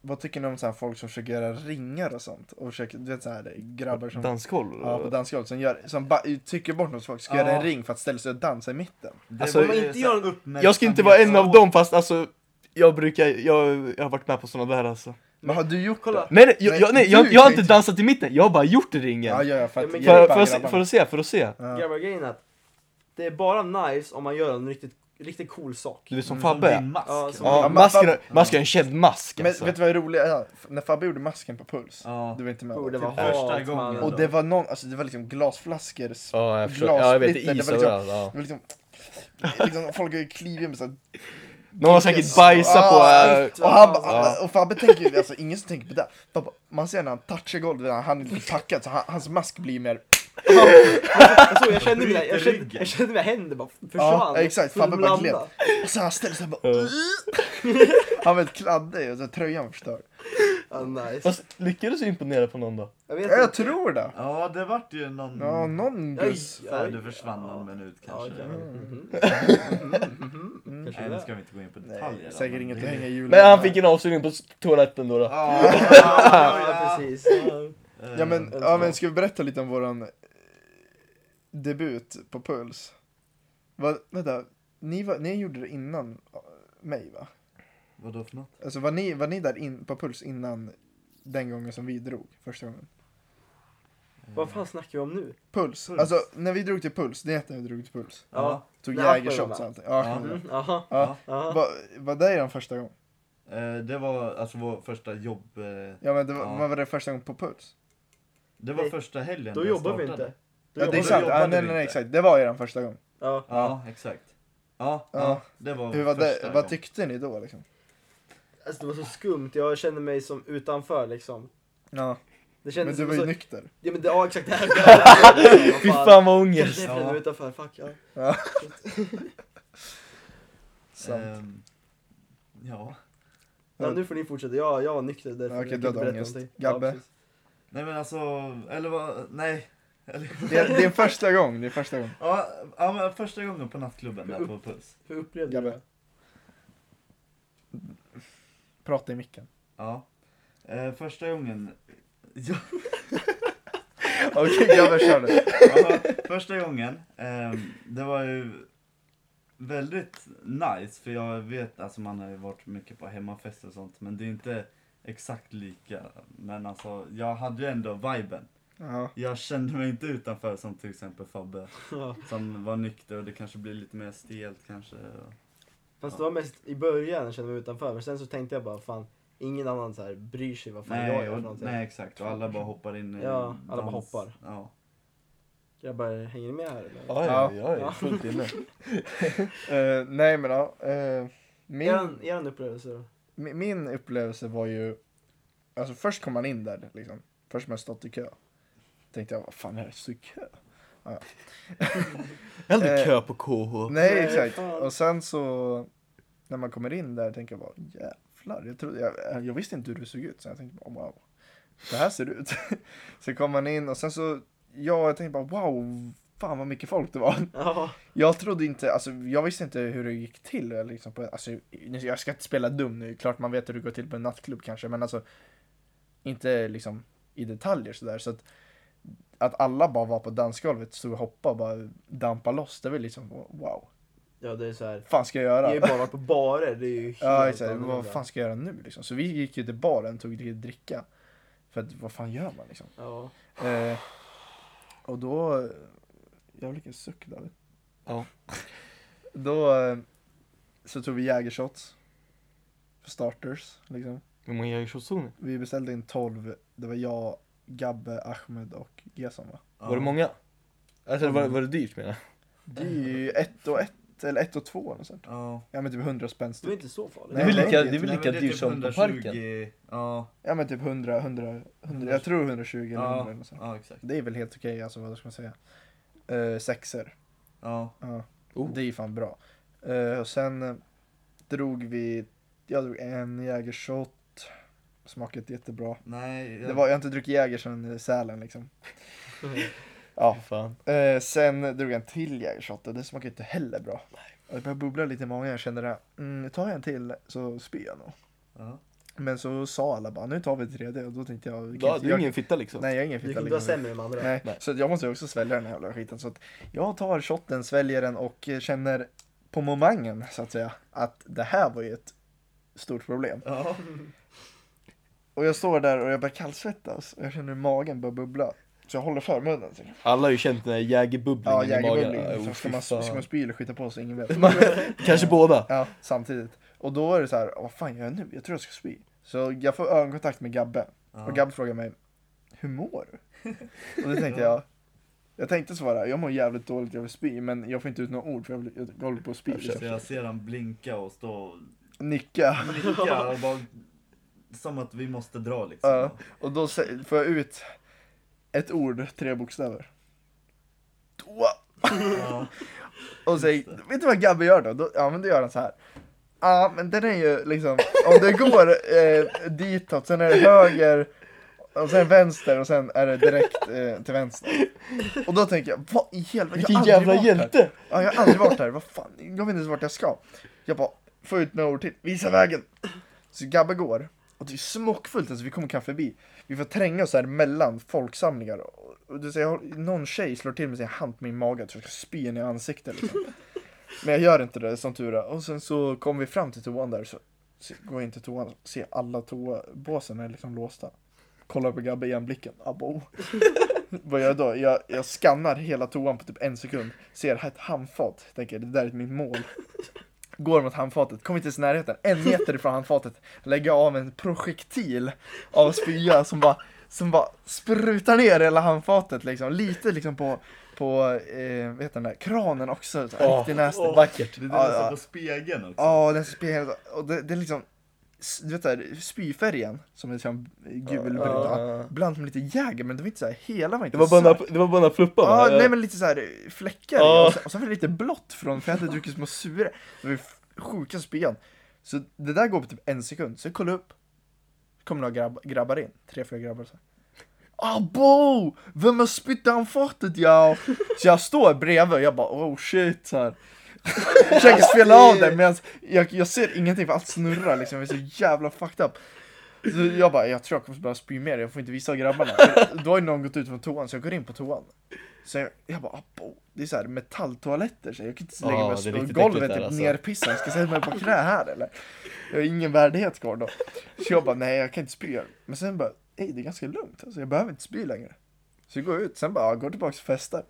B: Vad tycker ni om så här folk som försöker göra ringar och sånt? Och försöker, du vet så här grabbar som...
A: Dansgolv?
B: Ja, på dansgolvet som, gör, som ba- trycker bort något folk, ska
C: Ja.
B: göra en ring för att ställa sig och dansa i mitten.
C: Det
A: Alltså,
C: var ju
D: om man inte
C: så
D: gör
C: här
D: en-
C: uppmärksamhet-
A: Jag ska inte vara en av dem fast alltså... Jag brukar, jag, jag har varit med på sådana där alltså.
B: Men har du gjort
D: Kolla.
B: det?
A: Nej, nej, jag,
B: Nej,
A: jag,
B: du
A: nej, jag, jag
B: kan
A: har inte
B: inte-
A: dansat i mitten, jag har bara gjort ringen.
B: Ja, ja, ja, för
D: Ja,
B: att
D: men
A: för,
B: hjälpa
A: för, att se,
B: grabbarna.
A: för att se, för att se.
B: Ja.
D: Grabbar grejen är att det är bara nice om man gör en riktigt, riktigt cool sak.
A: Du är som
C: Mm,
A: Fabbe.
C: din mask.
D: Ja, som-
A: Ja,
B: Ja,
A: masken,
B: Fab-
A: masken är en känd mask
B: Men
A: alltså.
B: vet du vad det roliga är? F- När Fabbe gjorde masken på Puls,
C: Ja.
B: du var inte med
D: Oh,
B: va?
D: det var
C: Typ första
D: hat,
C: gången
D: man.
C: då.
B: Och det var någon, alltså det var liksom glasflaskor, s-
A: Ja, jag förstår. Ja, jag vet,
B: glassplitter,
A: det är
B: det
A: is
B: var liksom,
A: överallt, ja.
B: det var liksom, liksom folk har ju klivit med såhär
A: Någon har säkert bajsat på...
B: Ja,
A: äh,
B: Och, han, ba-
A: Ja.
B: och Fabbe tänker ju, alltså ingen som tänker på det. Fabbe, man ser när han touchar golvet, han är lite packad så han, hans mask blir mer
D: Alltså, Jag, såg, jag, kände mina, jag, kände,
C: Ryggen.
D: jag kände mina händer bara försvann.
B: Ja, exakt. Fabbe bara gled.
D: Förblanda.
B: Och så han ställde sig bara...
A: Ja.
B: Han var helt kladdig och så tröjan var förstörd.
D: Ja, nice.
A: Fast lyckades du imponera på någon då?
D: Jag
B: Ja,
D: vet
B: jag
D: inte.
B: tror det.
C: Ja, det vart ju någon...
B: Ja, någon
D: Aj,
B: guss.
C: Nej,
D: aj,
C: det försvann någon
D: ja.
C: minut
D: Ja,
C: kanske.
D: ja. Mhm. Mhm. Kanske
C: Nej, nu
D: det.
C: ska vi inte gå in på detaljer.
B: Nej,
C: då,
B: säkert
C: men
B: inget att
C: det-
B: hänga i julen.
A: Men han fick en avsugning på s- toaletten då.
B: Ah,
A: då.
C: Ja,
D: Ja, precis.
B: Ja men,
C: Mm,
D: Eh,
B: ja, men ska vi berätta lite om våran eh, debut på Puls? Vad, vänta, ni, var, ni gjorde det innan eh, mig va?
C: Vadå för något?
B: Alltså var ni, var ni där in, på Puls innan den gången som vi drog första gången?
D: Vad fan snackar vi om nu?
B: Puls,
C: Puls.
B: alltså när vi drog till Puls, det hette när vi drog till Puls.
D: Ja.
B: Tog
D: När Ahmed
B: jägershots och
D: var
B: allt. Ja,
C: Ja.
B: ja.
D: Mm, aha.
B: ja.
D: aha.
B: Var, var det er första gång?
C: Eh, Det var alltså vår första jobb... eh,
B: Ja men det var,
C: Ja.
B: vad var det första gången på Puls?
C: Det var
D: Nej,
C: första helgen
D: Då
C: det
D: jobbar vi
C: startade.
D: inte. Då
B: Ja det
D: jobbar
B: är
D: vi.
B: sant,
C: jobbade
B: ja, nej,
C: vi
B: nej, nej,
C: inte.
B: exakt. Det var er första gång.
D: Ja.
C: Ja, exakt. Ja,
B: Ja.
C: ja, det var
B: Hur var det,
C: första
B: vad
C: gången.
B: tyckte ni då liksom?
D: Alltså, det var så skumt, jag kände mig som utanför liksom.
B: Ja,
D: Det
B: men
D: kändes
B: du var ju
D: som så...
B: nykter.
D: Ja men det, ja exakt det här. Ja,
A: Fy fan vad
D: Jag
A: ångest!
D: kände mig utanför, fuck ja.
B: Sant.
C: Ehm, ja.
D: ja. Nu får ni fortsätta, jag, jag var nykter
B: Ja,
D: därför
B: okej,
D: jag
B: du
D: kan inte
B: hade
D: berätta
B: ångest.
D: någonting.
B: Gabbe?
D: Ja, precis.
C: Nej men alltså, eller vad, nej. Eller,
B: Det är, det är första gång, det är första gång.
C: ja, ja, men första gången på nattklubben där på Puls.
D: Hur upplevde du
B: Gabbe?
D: det?
B: Prata i micken.
C: Ja. Eh, första gången, ja,
B: Okej grabbar kör nu.
C: ja, första gången, ehm, det var ju väldigt nice för jag vet, alltså man har ju varit mycket på hemmafester och sånt men det är inte exakt lika. Men alltså jag hade ju ändå viben.
B: Ja.
C: Jag kände mig inte utanför som till exempel Fabbe
D: Ja.
C: som var nykter och det kanske blir lite mer stelt kanske.
D: Fast det var mest i början jag kände mig utanför, men sen så tänkte jag bara fan, ingen annan så här bryr sig vad fan jag
C: Nej,
D: gör för
C: och,
D: någonting.
C: nej exakt, och alla bara hoppar in i
D: Ja, alla bara
C: dans.
D: hoppar.
C: Ja.
D: Grabbar, hänger ni med här eller?
A: Ja, ja, ja, ja. fullt inne.
B: Eh, nej men ja. eh, min,
D: Eran, eran upplevelse då?
B: mi- min upplevelse var ju, alltså först kom man in där liksom. Först man stått i kö. Tänkte jag, vad fan är det så i kö?
A: Jag hade
B: Eh,
A: kö på KH.
B: Nej
D: Nej,
B: exakt.
D: fan.
B: Och sen så, när man kommer in där tänker jag bara, jävlar. Jag, trodde, jag, jag visste inte hur det såg ut så jag tänkte bara, wow. Så här ser det ut. så kom man in och sen så, ja jag tänkte bara, wow. Fan vad mycket folk det var.
D: Ja,
B: Jag trodde inte, alltså jag visste inte hur det gick till. eller Liksom på, alltså, jag ska inte spela dum nu, klart man vet hur det går till på en nattklubb kanske, men alltså inte liksom i detaljer sådär. Så att, att alla bara var på dansgolvet, stod och hoppade och bara dampa loss, det var liksom wow.
D: ja det är så här.
B: fan ska jag
D: Ni har ju
B: göra?
D: bara varit på barer, det är ju helt
B: Ja, exakt, vad
D: annorlunda.
B: fan ska jag göra nu liksom? Så vi gick ju till baren, tog lite dricka. För att vad fan gör man liksom?
D: Ja.
B: Eh, och då... Jag vilken suck David.
A: Ja.
B: Då eh, så tog vi jägershots. För starters liksom.
A: Hur många jägershots tog ni?
B: Vi beställde in 12. Det var jag, Gabbe, Ahmed och Gesam va?
A: Var det många? Alltså
B: Mm.
A: var, var det dyrt menar jag?
B: Det är ju ett och ett, eller ett och två eller något sånt.
C: Ja.
B: Ja men typ 100 spänn
D: Det var
B: styck.
D: inte så farligt.
A: Det är väl
B: Nej,
A: lika,
B: det
A: det
B: är
A: är väl
C: Nej, men
A: lika
C: det är
A: dyrt
C: typ
A: som på
C: 120
A: parken?
C: Ja,
B: Ja men typ 100, 100, 100 jag tror 120 eller 100
C: ja,
B: eller något sånt.
C: ja exakt.
B: Det är väl helt okej alltså vad ska man säga. Eh, sexer.
C: Ja.
B: Ja.
A: Oh.
B: Det är ju fan bra. Eh, och sen eh, drog vi, jag drog en jägershot. Smakade jättebra.
C: Nej, jag,
B: Det var, jag har inte druckit jäger sedan eh, Sälen liksom.
A: Ja. Fan.
B: Eh, sen drog jag en till jägershot och det smakade inte heller bra. Och det började bubbla lite i magen, jag kände det. här, Mm, nu tar jag en till så spyr jag nog.
C: ja.
B: Men så sa alla bara, nu tar vi ett tredje och då tänkte jag, vi
A: Du
B: kan
A: har
B: inte,
A: du har
B: jag
A: ingen fitta liksom?
B: nej jag är ingen
D: Du
B: fitta
D: kunde vara
B: liksom.
D: sämre än de andra.
B: Nej,
A: Nej.
B: så att jag måste ju också svälja den här jävla skiten. Så att jag tar shotten, sväljer den och eh, känner på momangen så att säga att det här var ju ett stort problem.
C: ja.
B: Och jag står där och jag börjar kallsvettas och jag känner hur magen börjar bubbla. Så jag håller för munnen. Så.
A: Alla har ju känt den där jägerbubblingen
B: Ja,
A: i magen.
B: jägerbubbling.
A: Ja,
B: Så
A: oh,
B: Ska
A: fy
B: man, ska
A: fan.
B: man spy eller skita på sig? Ingen vet.
A: Kanske båda.
B: Ja, samtidigt. Och då är det så här, vad fan gör jag nu? Jag tror jag ska spy. Så jag får ögonkontakt med Gabbe.
C: Ja.
B: Och Gabbe frågar mig, hur mår du? Och då tänkte jag, jag tänkte svara, jag mår jävligt dåligt, jag vill spy, men jag får inte ut några ord för jag, blir, jag håller på att spy. liksom.
C: Så jag ser han blinka och stå och
B: Nicka.
C: blinka typ och bara, som att vi måste dra liksom.
B: Ja. Och då sä- får jag ut ett ord, tre bokstäver. toa.
C: Ja.
B: Och säger, vet du vad Gabbe gör då? då ja men då gör han så här. Ja men den är ju liksom, om det går eh, ditåt, sen är det höger, och sen vänster och sen är det direkt eh, till vänster. Och då tänker jag, vad i helvete? jag har aldrig
A: Vilken jävla
B: varit här."
A: hjälte!
B: Ja, jag har aldrig varit här, vad fan, jag vet inte ens vart jag ska. Jag bara, få ut några ord till, visa vägen. Så Gabbe går, och det är smockfullt, alltså vi kommer knappt förbi. Vi får tränga oss här mellan folksamlingar. Och, och du säger, någon tjej slår till med sin hand på min mage, jag tror jag ska spy henne i ansiktet liksom. Men jag gör inte det, som tur är. Och sen så kommer vi fram till toan där, så, så går jag in till toan, ser alla toabåsen är liksom låsta. Kollar på Gabbe igen, blicken, "Oh, abo. Vad gör jag då? Jag, jag skannar hela toan på typ en sekund, ser här ett handfat, tänker det där är mitt mål. Går mot handfatet, kommer inte ens i närheten, en meter ifrån handfatet lägger jag av en projektil av spya som bara, som bara sprutar ner hela handfatet liksom, lite liksom på, på eh, vad heter den där, kranen också, så här,
A: Åh,
B: riktigt nasty.
A: Vackert!
C: Det är
B: Ja,
C: nästan
B: ja.
C: på spegeln också.
B: Ja, den speglar och det, det är liksom, s- du vet där, spyfärgen som är liksom gulbrun,
A: Ja.
B: ja. blandat med lite jäger, men det var inte så här hela vägen
A: Det var bara den här- det var bara den här fluppan
B: Ja,
A: va?
B: nej men lite så här eh, fläckar i
A: Ja.
B: och, sen, och sen var det lite blått från för jag hade druckit små sura. Det var f- sjuka spyan. Så det där går på typ en sekund, så jag kollar upp. Kommer några grabb, grabbar in, tre, fyra grabbar så här. Abo! Vem har spytt handfatet jag? Så jag står bredvid och jag bara oh shit så här. Försöker spela av det medan jag, jag ser ingenting för allt snurrar liksom, jag är så jävla fucked up. Så jag bara, jag tror jag kommer behöva spy mer, jag får inte visa grabbarna. För Då har ju någon gått ut från toan, så jag går in på toan. Så jag, jag bara, abo, det är så här metalltoaletter, så jag kan inte lägga
A: Ja,
B: mig och
A: det är
B: slå i
A: riktigt
B: golvet,
A: äckligt
B: typ
A: där, alltså.
B: nerpissad. Jag ska sätta mig på knä här eller? Jag har ingen värdighet kvar då. Så jag bara, nej jag kan inte spy här. Men sen bara, ey det är ganska lugnt, alltså, jag behöver inte spy längre. Så jag går ut, sen bara, ja, går tillbaka och festar.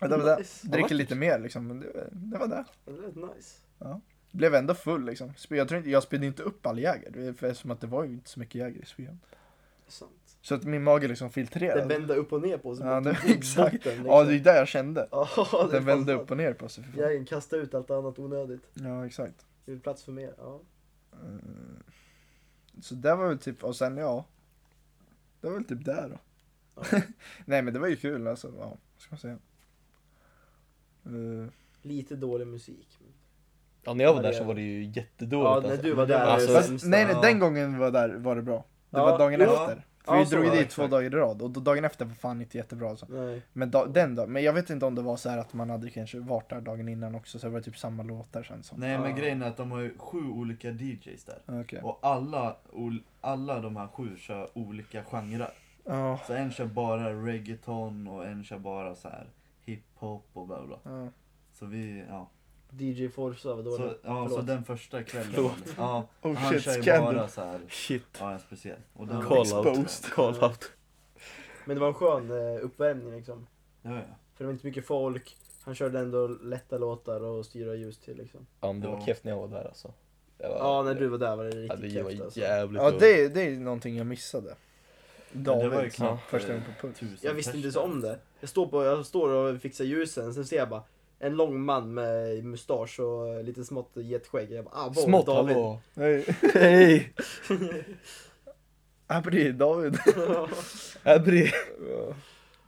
B: Och det var det.
D: Nice.
B: Dricker lite mer liksom, men det, det var det.
D: Det lät nice.
B: Blev ändå full liksom. Spy- Jag, tror inte, jag spydde inte upp all Jäger, det är för som att det var ju inte så mycket Jäger i spyan.
D: Sant.
B: Så att min mage liksom
D: Den
B: filtrerade.
D: vände upp och ner på oss.
B: ja,
D: mot
B: det,
D: botten,
B: exakt.
D: liksom.
B: Ja, det är där jag kände.
D: Ja, det
B: Den vände
D: fanns
B: upp och ner på sig. för
D: allt.
B: fan.
D: Jägern kastade ut allt annat onödigt.
B: Ja, exakt.
D: Det är plats för mer. Ja.
B: Mm. Så det var väl typ, och sen ja. Det var väl typ där då.
D: Ja.
B: Nej men det var ju kul alltså, ja, vad ska man säga. Eh,
D: Lite dålig musik.
A: Ja när jag var där så var det ju jättedåligt
D: Ja, när
A: alltså.
D: du var där.
A: Alltså,
D: var det
B: fast,
D: sämsta.
B: nej, nej, den gången var, där, var det bra. Det
D: Ja,
B: var dagen
D: ja.
B: efter. För
D: Ja,
B: vi
D: så
B: drog
D: var
B: ju
D: det,
B: dit två
A: exakt.
B: dagar i rad och då, dagen efter var fan inte jättebra alltså.
D: Nej.
B: Men da, den då, men jag vet inte om det var så här att man hade kanske varit där dagen innan också så det var typ samma låtar känns som.
C: Nej men
D: Ja.
C: grejen är att de har ju sju olika DJs där.
B: Okej.
C: Och alla, ol, alla de här sju kör olika genrer.
B: Ja.
C: Så en kör bara reggaeton och en kör bara så här hiphop och bla bla.
B: ja.
C: Så vi, ja.
D: DJ Forza var dålig.
C: Så, ja, så
D: Förlåt.
C: den första kvällen.
A: Förlåt.
C: Ja,
B: Oh
C: han
B: shit,
C: kör ju
B: scandal.
C: bara så här,
A: Shit.
C: ja en speciell. Och den
D: Ja.
A: Call out.
B: Exposed.
A: Call out.
D: Men det var en skön eh, uppvärmning liksom.
C: Ja, ja.
D: För det var inte mycket folk. Han körde ändå lätta låtar och styra ljus till liksom.
A: Ja men det var
C: Ja.
A: keft när jag var där alltså. Det var,
D: Ja, när du var där var det riktigt
A: ja, det var
D: kräft, alltså.
A: jävligt
B: ja
A: dåligt.
B: det, det är någonting jag missade.
C: Men det var ju
B: David,
C: knappt
B: första
C: eh,
B: gången på Puls.
C: tusen
D: Jag visste inte
C: pers
D: ens om
C: där.
D: det. Jag står, på, jag står och fixar ljusen, sen ser jag bara en lång man med mustasch och eh, lite smått getskägg. Jag bara, ah, boll,
A: Smått
D: David.
A: hallå.
B: Nej,
A: Hej!
B: här blir det David.
A: Här blir-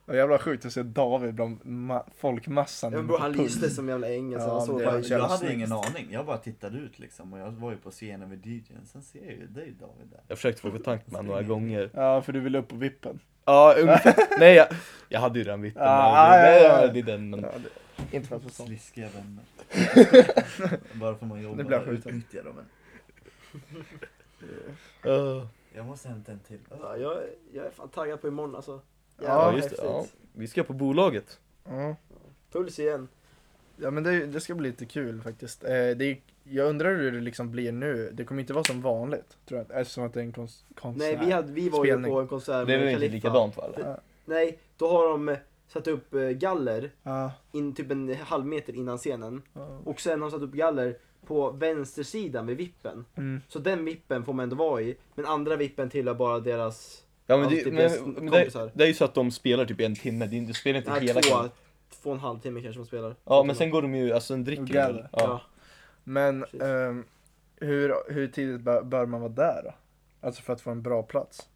B: Ja, jävla sjukt att se David bland ma- folkmassan.
D: Men bror han
B: på Puls.
D: lyste som jävla ängel. så
B: Ja,
D: han såg
B: det
D: bara,
B: var så jävla
C: Jag hade
B: snyggt.
C: ingen aning, jag bara tittade ut liksom och jag var ju på scenen med DJn. Sen ser jag ju dig David där.
A: Jag försökte få kontakt med honom några gånger.
B: Ja, för du ville upp på vippen.
A: Ja ungefär. Nej jag, jag hade ju den vippen.
B: Ah,
A: men-
B: ja, ja, ja.
A: Nej, Det är den men.
B: Ja, det, inte för att få sånt.
C: Sliskiga vänner. bara för man jobbar
B: Nu blir jag
C: där
B: skjuten.
C: utnyttjar dem. men
A: Uh,
C: Jag måste hämta en till.
D: Ja, jag, jag är fan taggad på imorgon alltså.
A: ja
B: Ja,
A: just det. Ja.
D: häftigt.
A: Vi ska på bolaget.
B: Ja.
D: Puls igen.
B: Ja men det, det ska bli lite kul faktiskt. Eh, det, jag undrar hur det liksom blir nu. Det kommer inte vara som vanligt tror jag. Eftersom att det är en konst, konstnär.
D: Nej vi, hade, vi var ju
B: Spelning.
D: på en konsert
A: Det är väl
D: med
A: inte
D: Kaliffa.
A: likadant va? eller?
D: Nej, då har de eh, satt upp eh, galler
B: Ja,
D: in, typ en halv meter innan scenen.
B: ja.
D: Och sen har de satt upp galler på vänstersidan vid vippen.
B: Mm.
D: Så den vippen får man ändå vara i, men andra vippen tillhör bara deras...
A: Ja men,
D: Ja,
A: det,
D: typ deras
A: men, men det,
D: kompisar.
A: det är ju så att de spelar typ en timme, det är inte- du spelar inte
D: Nej,
A: hela
D: två,
A: kvällen.
D: två och en halv timme kanske man spelar.
A: Ja men sen går de ju, alltså sen dricker de
B: Galler.
A: väl.
D: Ja.
A: Ja.
B: Men
D: Precis.
B: ehm, hur, hur tidigt bör, bör man vara där då? Alltså för att få en bra plats.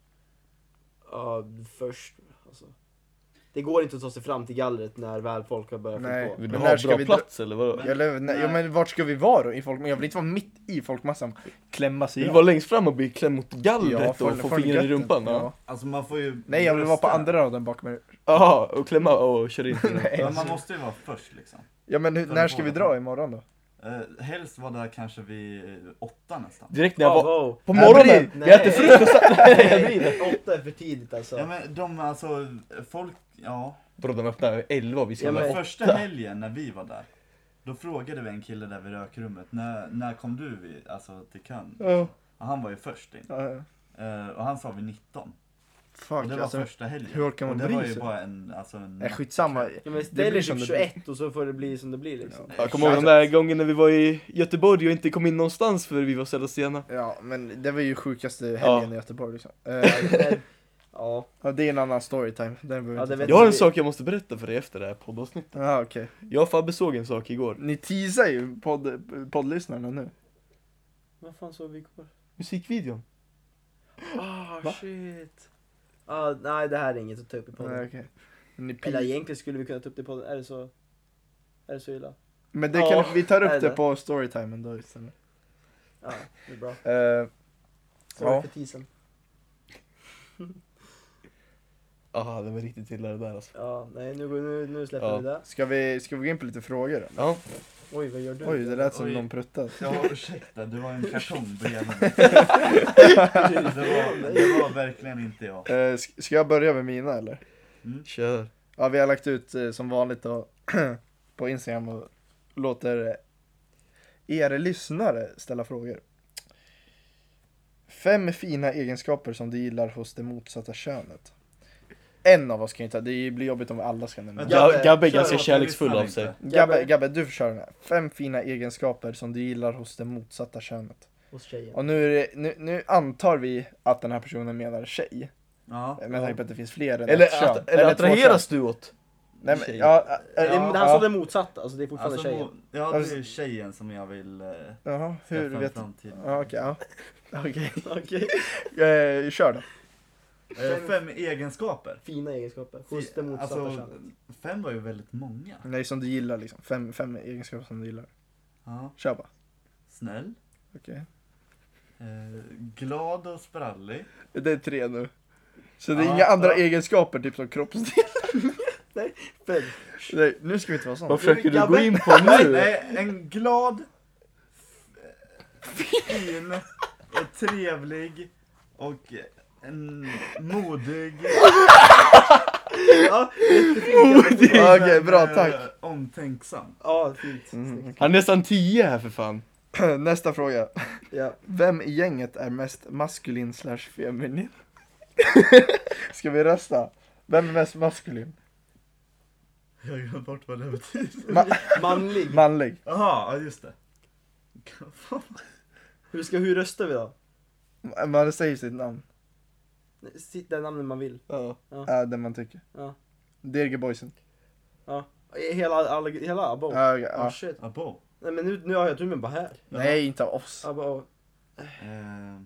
D: Ja, först. Alltså. det går inte att ta sig fram till gallret när väl folk har börjat
B: Nej.
D: få på.
A: Vill du
B: Men
A: ha
B: när ska
A: bra
B: vi dra-
A: plats eller vadå?
B: Eller, nej, ja, men vart ska vi vara då? I folk, men jag vill inte vara mitt i folkmassan. Klämma sig
A: Vill du
B: i.
A: vara längst fram och bli klämd mot gallret
B: får-
A: och få
B: får en
A: fingrar i
B: götten.
A: rumpan?
B: Ja.
A: Ja.
C: Alltså man får ju
B: Nej jag vill vara på
C: rösta.
B: andra raden bakom er.
A: Jaha, och klämma och köra in till den.
B: Nej.
C: Men man måste ju vara först liksom.
B: Ja men hur,
C: För
B: när
C: den
B: ska vi
C: båda.
B: dra imorgon då?
C: Uh, helst vara där kanske vid åtta nästan.
A: Direkt när jag
D: Ja,
A: var...
D: wow.
A: På
B: Nej, men-
A: morgonen! Vi äter frukost!
D: Nej, åtta är för tidigt alltså.
C: Ja men de alltså, folk, ja.
A: Bror de öppnar 11, vi ska
D: Ja,
A: ja,
D: men-
A: men...
C: Första helgen när vi var där, då frågade vi en kille där vid rökrummet, när, när kom du vid, alltså, till kön?
B: Ja.
C: Och han var ju först in.
B: ja.
C: Eh, och han sa vid 19.
B: Fuck
C: Och det var
B: alltså.
C: första helgen.
B: hur orkar man
C: och det
B: bry
C: var ju
B: sig?
C: bara en, alltså en...
B: Nej Äh, skitsamma.
D: Ja, men
B: blir
D: ställ dig
B: som det
D: typ 21 och så får det bli som det blir liksom.
A: Jag kommer ihåg den där gången när vi var i Göteborg och inte kom in någonstans för vi var så jävla sena.
B: Ja men det var ju sjukaste helgen
A: Ja.
B: i Göteborg liksom. Eh,
D: Men, ja,
B: ja, det är en annan storytime. Den behöver
D: Ja, det
B: vi inte
D: vet
B: ta.
A: Jag har en
D: vi-
A: sak jag måste berätta för dig efter det här poddavsnittet.
B: Ja okej.
A: Jag och Fabbe såg en sak igår.
B: Ni teasar ju podd, poddlyssnarna nu.
D: vad fan såg vi igår?
A: Musikvideon.
D: Ah
B: Va?
D: shit. Ah, nej det här är inget att ta upp i podden.
B: Nej, okej. Ni pi-
D: Eller egentligen skulle vi kunna ta upp det i podden, är det så? Är det så illa?
B: Men det
D: Ja,
B: kan, vi tar
D: är
B: upp det
D: det.
B: på storytimen då istället.
D: Ja, det är bra.
B: Eh,
D: Sorry
B: Ja.
D: för teasern.
A: Ja, den var riktigt illa det där alltså.
D: Ja, nej nu, går- nu, nu släpper
A: Ja.
D: vi det.
B: ska, vi, ska vi gå in på lite frågor då?
A: Ja,
D: Oj, vad gör du?
B: Oj, det lät som
C: Oj.
B: någon pruttade.
C: Ja, ursäkta, det var en kartong bredvid mig. det, var, det var verkligen inte jag.
B: Eh, sk- ska jag börja med mina eller?
C: Mm.
A: kör.
B: Ja, vi har lagt ut eh, som vanligt då, på Instagram och låter eh, er lyssnare ställa frågor. Fem fina egenskaper som du gillar hos det motsatta könet. En av oss kan ju ta, det blir jobbigt om vi alla ska nämna.
C: Vänta.
A: Gabbe, Gabbe är
D: kör.
A: ganska
C: Jag
A: kärleksfull
C: lyssnar
A: av sig.
C: inte.
B: Gabbe, Gabbe, du får köra den här. Fem fina egenskaper som du gillar hos det motsatta könet.
D: Hos tjejen.
B: Och nu, är det, nu, nu antar vi att den här personen menar tjej.
C: Ja.
B: Med tanke på att det finns fler än ett
A: Eller,
B: kön.
A: att, eller
B: två
A: attraheras du åt?
B: kön. Nej, men,
A: tjejer?
B: ja, äh,
D: Eller,
B: äh,
D: men
B: ja,
D: han sa det motsatta, alltså det är fortfarande
C: Alltså,
D: tjejen.
C: mo- ja, det är tjejen som jag vill eh,
B: Jaha, hur
C: skaffa en
B: vet du?
C: framtid med.
B: Ja, okej. ja. Okej.
D: Okej.
B: Eh, kör då.
C: Eh, Fem egenskaper.
D: Fina egenskaper, hos det motsatta
B: alltså-
D: könet.
C: Alltså, fem var ju väldigt många.
B: Nej, som du gillar liksom. Fem, fem egenskaper som du gillar.
C: Ja,
B: Kör bara.
C: snäll,
B: Okej.
C: eh, glad och sprallig.
B: Det är tre nu. Så det är
C: Ja,
B: inga andra
C: ja.
B: egenskaper, typ som kroppsdel.
D: Fem.
B: Nej, nu ska vi inte vara såna.
A: Vad försöker du gå
D: Gabbe?
A: in på nu?
C: Nej, en glad, f- fin och trevlig och en modig.
D: Ja, jättefint.
B: Ja, Okej,
C: men,
B: bra,
C: eh,
B: tack.
C: Omtänksam.
D: Ja, fint.
B: Mm.
A: Han är nästan 10 här för fan.
B: Nästa fråga.
D: Ja.
B: Vem i gänget är mest maskulin slash feminin? Ska vi rösta? Vem är mest maskulin?
C: Jag har glömt bort vad det betyder.
B: Ma-
D: Manlig.
B: manlig?
C: Jaha, ja, just det. Fan.
D: Hur, ska, hur röstar vi då?
B: Man säger sitt namn.
D: Nej, sitt Det namnet man vill.
A: Ja.
B: Ja, det man tycker.
D: Ja.
B: Dirge boysen.
D: Ja. Hela, alla, hela abba? Ja.
B: Ja, okej,
D: Ah,
B: ja.
D: shit.
C: Abo.
D: Nej men nu, nu har jag turen bara här.
B: Nej, inte av oss.
D: Abba, oh.
C: Eh,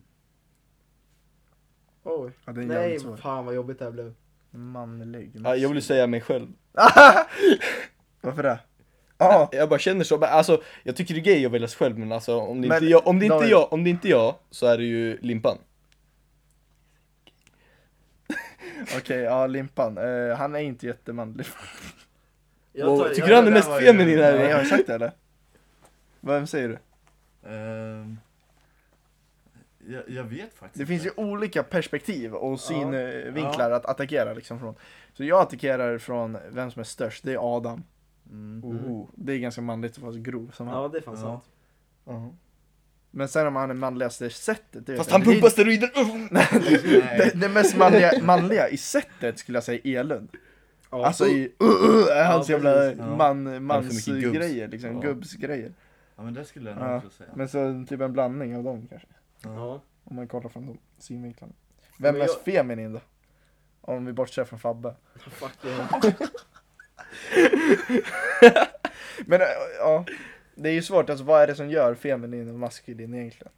D: Oj.
B: Ja, det är
D: Nej,
B: jävligt svårt.
D: fan vad jobbigt det här blev.
B: Manlig.
A: Ja, Jag vill säga mig själv.
B: Varför det? Ja,
A: Jag bara känner så, men alltså jag tycker det är gay att välja sig själv men alltså om det,
B: Men,
A: inte, jag, om det, inte,
B: David-
A: jag, om det inte är jag så är det ju Limpan.
B: okej, ja Limpan. Eh, han är inte jättemanlig.
D: Jag
A: Wow,
D: tar-
A: tycker
D: jag-
A: du han är
C: det
A: mest
C: var ju-
A: feminin
B: Nej,
A: här?
B: jag
A: eller?
B: har jag sagt det eller? Vem säger du?
C: ehm, jag, jag vet faktiskt
B: Det finns ju
C: inte.
B: olika perspektiv och synvinklar att attackera liksom från. Så jag attackerar från vem som är störst, det är Adam.
C: Mm.
B: Oh, det är ganska manligt att vara så grov som han.
D: Ja, det är fan
C: Ja.
D: sant.
B: Ja. Men sen om han är manligaste i sättet. Det vet
A: Fast
B: jag
A: han
B: inte.
A: pumpar steroider! Uh!
C: Nej.
B: Det, det mest manliga, manliga i sättet skulle jag säga är Elund.
D: Ja.
B: Alltså i uh, uh, är hans
D: Ja,
B: jävla
D: precis.
C: Ja.
B: man,
A: mycket gubbs.
B: mansgrejer, liksom
A: Ja.
B: gubbsgrejer.
C: Ja men det skulle jag nog
B: Ja,
C: också säga.
B: Men så typ en blandning av dem kanske.
D: Ja.
B: Om man kollar från de synvinklarna. Vem är
D: Men jag-
B: mest feminin då? Om vi bortser från Fabbe.
D: Fuck det.
B: Men äh, ja, det är ju svårt. Alltså vad är det som gör feminin och maskulin egentligen?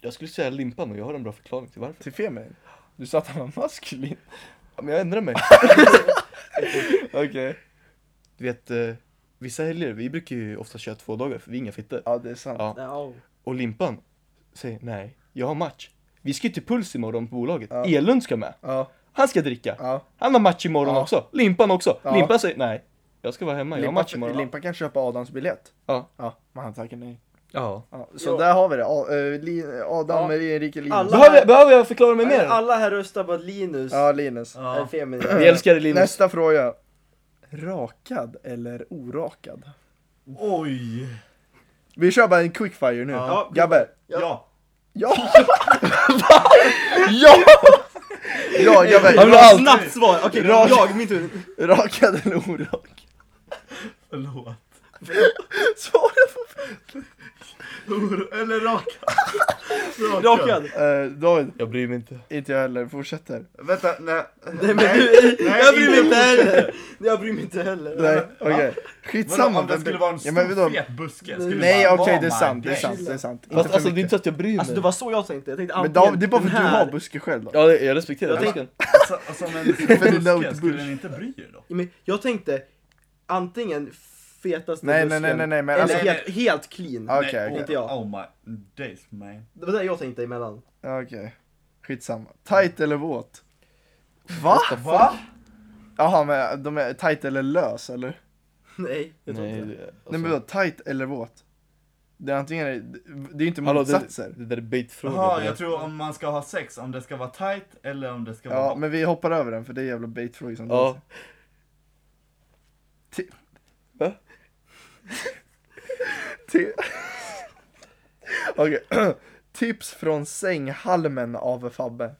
A: Jag skulle säga Limpan och jag har en bra förklaring till varför.
B: Till feminin? Du sa att han var maskulin.
A: men jag ändrar mig. Okej. Du vet, eh, vissa helger, vi brukar ju ofta köra två dagar för vi är inga fittor.
B: Ja, det är sant.
A: Ja.
D: Ja, oh.
A: Och Limpan säger nej, jag har match. Vi ska ju till Puls imorgon på bolaget.
B: Ja.
A: Elund ska med.
B: Ja,
A: Han ska dricka.
B: ja.
A: Han har match imorgon
B: Ja.
A: också. Limpan också.
B: Ja.
A: Limpan säger nej, jag ska vara hemma, jag har match
B: Limpan,
A: imorgon.
B: Limpan kan köpa Adams biljett.
A: Ja.
B: Ja, men han tackar nej.
A: Ja.
B: Ja, så
D: Ja.
B: där har vi det. A- eh, Li- Adam,
D: Ja.
B: Enrique, Linus.
D: Alla-
A: Behöver jag, behöver jag förklara mig mer?
D: Alla här röstar på att Linus
B: Ja, Linus.
D: är
C: Ja.
D: feminin.
A: Vi älskar dig Linus.
B: Nästa fråga. Rakad eller orakad?
C: Oj!
B: Vi kör bara en quickfire nu.
C: Ja.
B: Gabbe.
D: Ja.
C: Ja!
B: Ja! ja! Ja,
A: Han
B: Gabbe.
A: vill allt.
D: Snabbt svar! Okej,
B: Rakt.
D: jag, min tur.
B: Rakad eller orakad?
C: Förlåt.
B: Svara på
C: Or- Eller raka.
D: Rakad.
B: Eh, David,
A: Jag bryr mig inte.
B: inte jag heller. Fortsätter.
C: Vänta, nej.
D: Nej, men du, jag bryr mig inte heller. Jag bryr mig inte heller.
B: Nej, okej.
C: Vadå,
B: Skitsamma.
C: om det skulle vara en stor
B: men vadå?
C: fet buske?
D: Nej,
C: Skulle
B: Nej,
C: bara,
B: okej,
C: oh
B: det är
C: my
B: sant. Det är
C: days.
B: sant. Det är sant. Inte
A: Fast
B: för
A: alltså det är inte
B: mycket.
A: så att jag bryr mig.
D: Alltså det var så jag tänkte. Jag tänkte
B: Men
D: antingen
B: David, det är bara för
D: den
B: att du
D: här.
B: har buske själv. Då.
A: Ja, det- jag respekterar
D: Jag
A: det.
D: tänker-
C: Alltså, alltså, men
B: Väldigt
C: stor buske,
B: loud
C: skulle
B: bush.
C: ni inte bry er då?
D: Ja, men Jag tänkte antingen fetaste
B: Nej, nej,
D: busken
B: nej, nej, nej, men
D: eller
B: alltså-
D: helt, helt clean.
B: Ja. Okej, okej.
C: oh,
D: Inte jag.
C: Oh my days man.
D: Det var det jag tänkte emellan.
B: Okej. Skitsamma. Tight eller våt? Va?
C: Va?
B: Jaha, men de är tight eller lös eller?
D: Nej, jag tror
A: Nej,
D: inte det.
A: det- alltså-
B: Nej men vadå, tight eller våt? Det är antingen, det är ju inte
A: Hallå,
B: motsatser.
A: Det, det där är baitfrågor.
C: Jaha,
A: Det
C: jag
A: där.
C: tror om man ska ha sex, om det ska vara tight eller om det ska vara
B: Ja, men vi hoppar över den för det är jävla baitfrågor som
A: Ja.
B: Ti-
A: Va?
B: Ti- Okej. Tips från sänghalmen av Fabbe.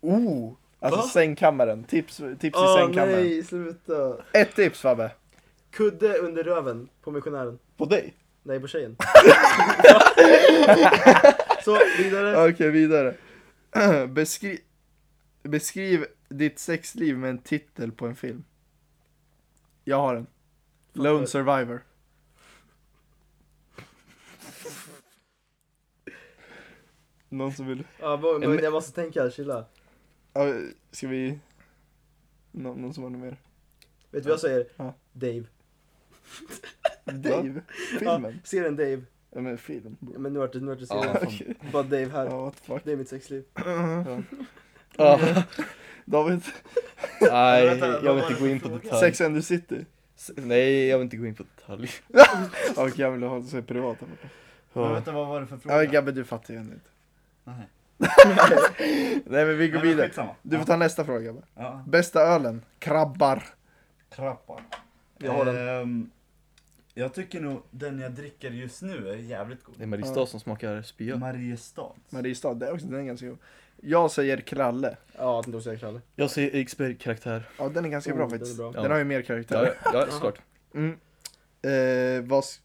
B: Oh! Alltså
D: Va?
B: sängkammaren. Tips, tips
A: Ah,
B: i
D: Åh
B: sängkammaren.
D: nej, sluta.
B: Ett tips Fabbe.
D: Kudde under röven på missionären.
A: På dig?
D: Nej, på tjejen. så, vidare.
B: Okej, vidare. Beskri- beskriv ditt sexliv med en titel på en film. Jag har en. Lone Survivor. Någon som vill?
D: Ja, men, men jag måste tänka, chilla. Vet
B: Ja, ska vi? Nå- någon som har något mer?
D: du vad jag säger?
B: Ja.
D: Dave.
B: Dave? Filmen?
D: Ja, serien Dave.
B: Ja, men film.
D: Ja, Men nu vart det, nu vart det serien.
A: Ja, fan.
B: Okej.
D: Bara Dave här.
B: Ja, what the fuck.
D: Det är mitt sexliv.
A: Ja.
B: David?
A: Nej,
C: Vänta, vad
A: jag
C: var
A: vill inte
C: det
A: gå
C: för
A: in på
C: fråga?
A: detaljer.
B: Sex and the City?
A: Se- Nej, jag vill inte gå in på detaljer.
B: Okej, jag vill hålla sig privat här borta.
C: Men
A: Ja.
C: vänta, vad var det för fråga?
B: Ja, Gabbe du fattar ju ändå inte.
C: Nej.
B: Nej men vi går
C: Nej, men
B: vidare.
C: skitsamma.
B: Du får
C: Ja.
B: ta nästa fråga Gabbe.
C: Ja,
B: Bästa ölen? Krabbar.
C: trappan.
D: Jag har den.
C: Ehm, jag tycker nog den jag dricker just nu är jävligt
A: Det
C: god.
A: är Mariestad som smakar spya.
C: Mariestads.
B: Mariestad, det är också, den är ganska god. Jag säger Kralle.
D: Ja, den dosiga kralle.
A: Jag säger Eriksberg karaktär.
B: Ja, den är ganska
D: Oh,
B: bra
D: den
B: faktiskt.
D: är
B: Den,
D: bra.
B: har ju mer karaktär.
A: Ja, ja såklart.
B: Mm. Eh, vad, s-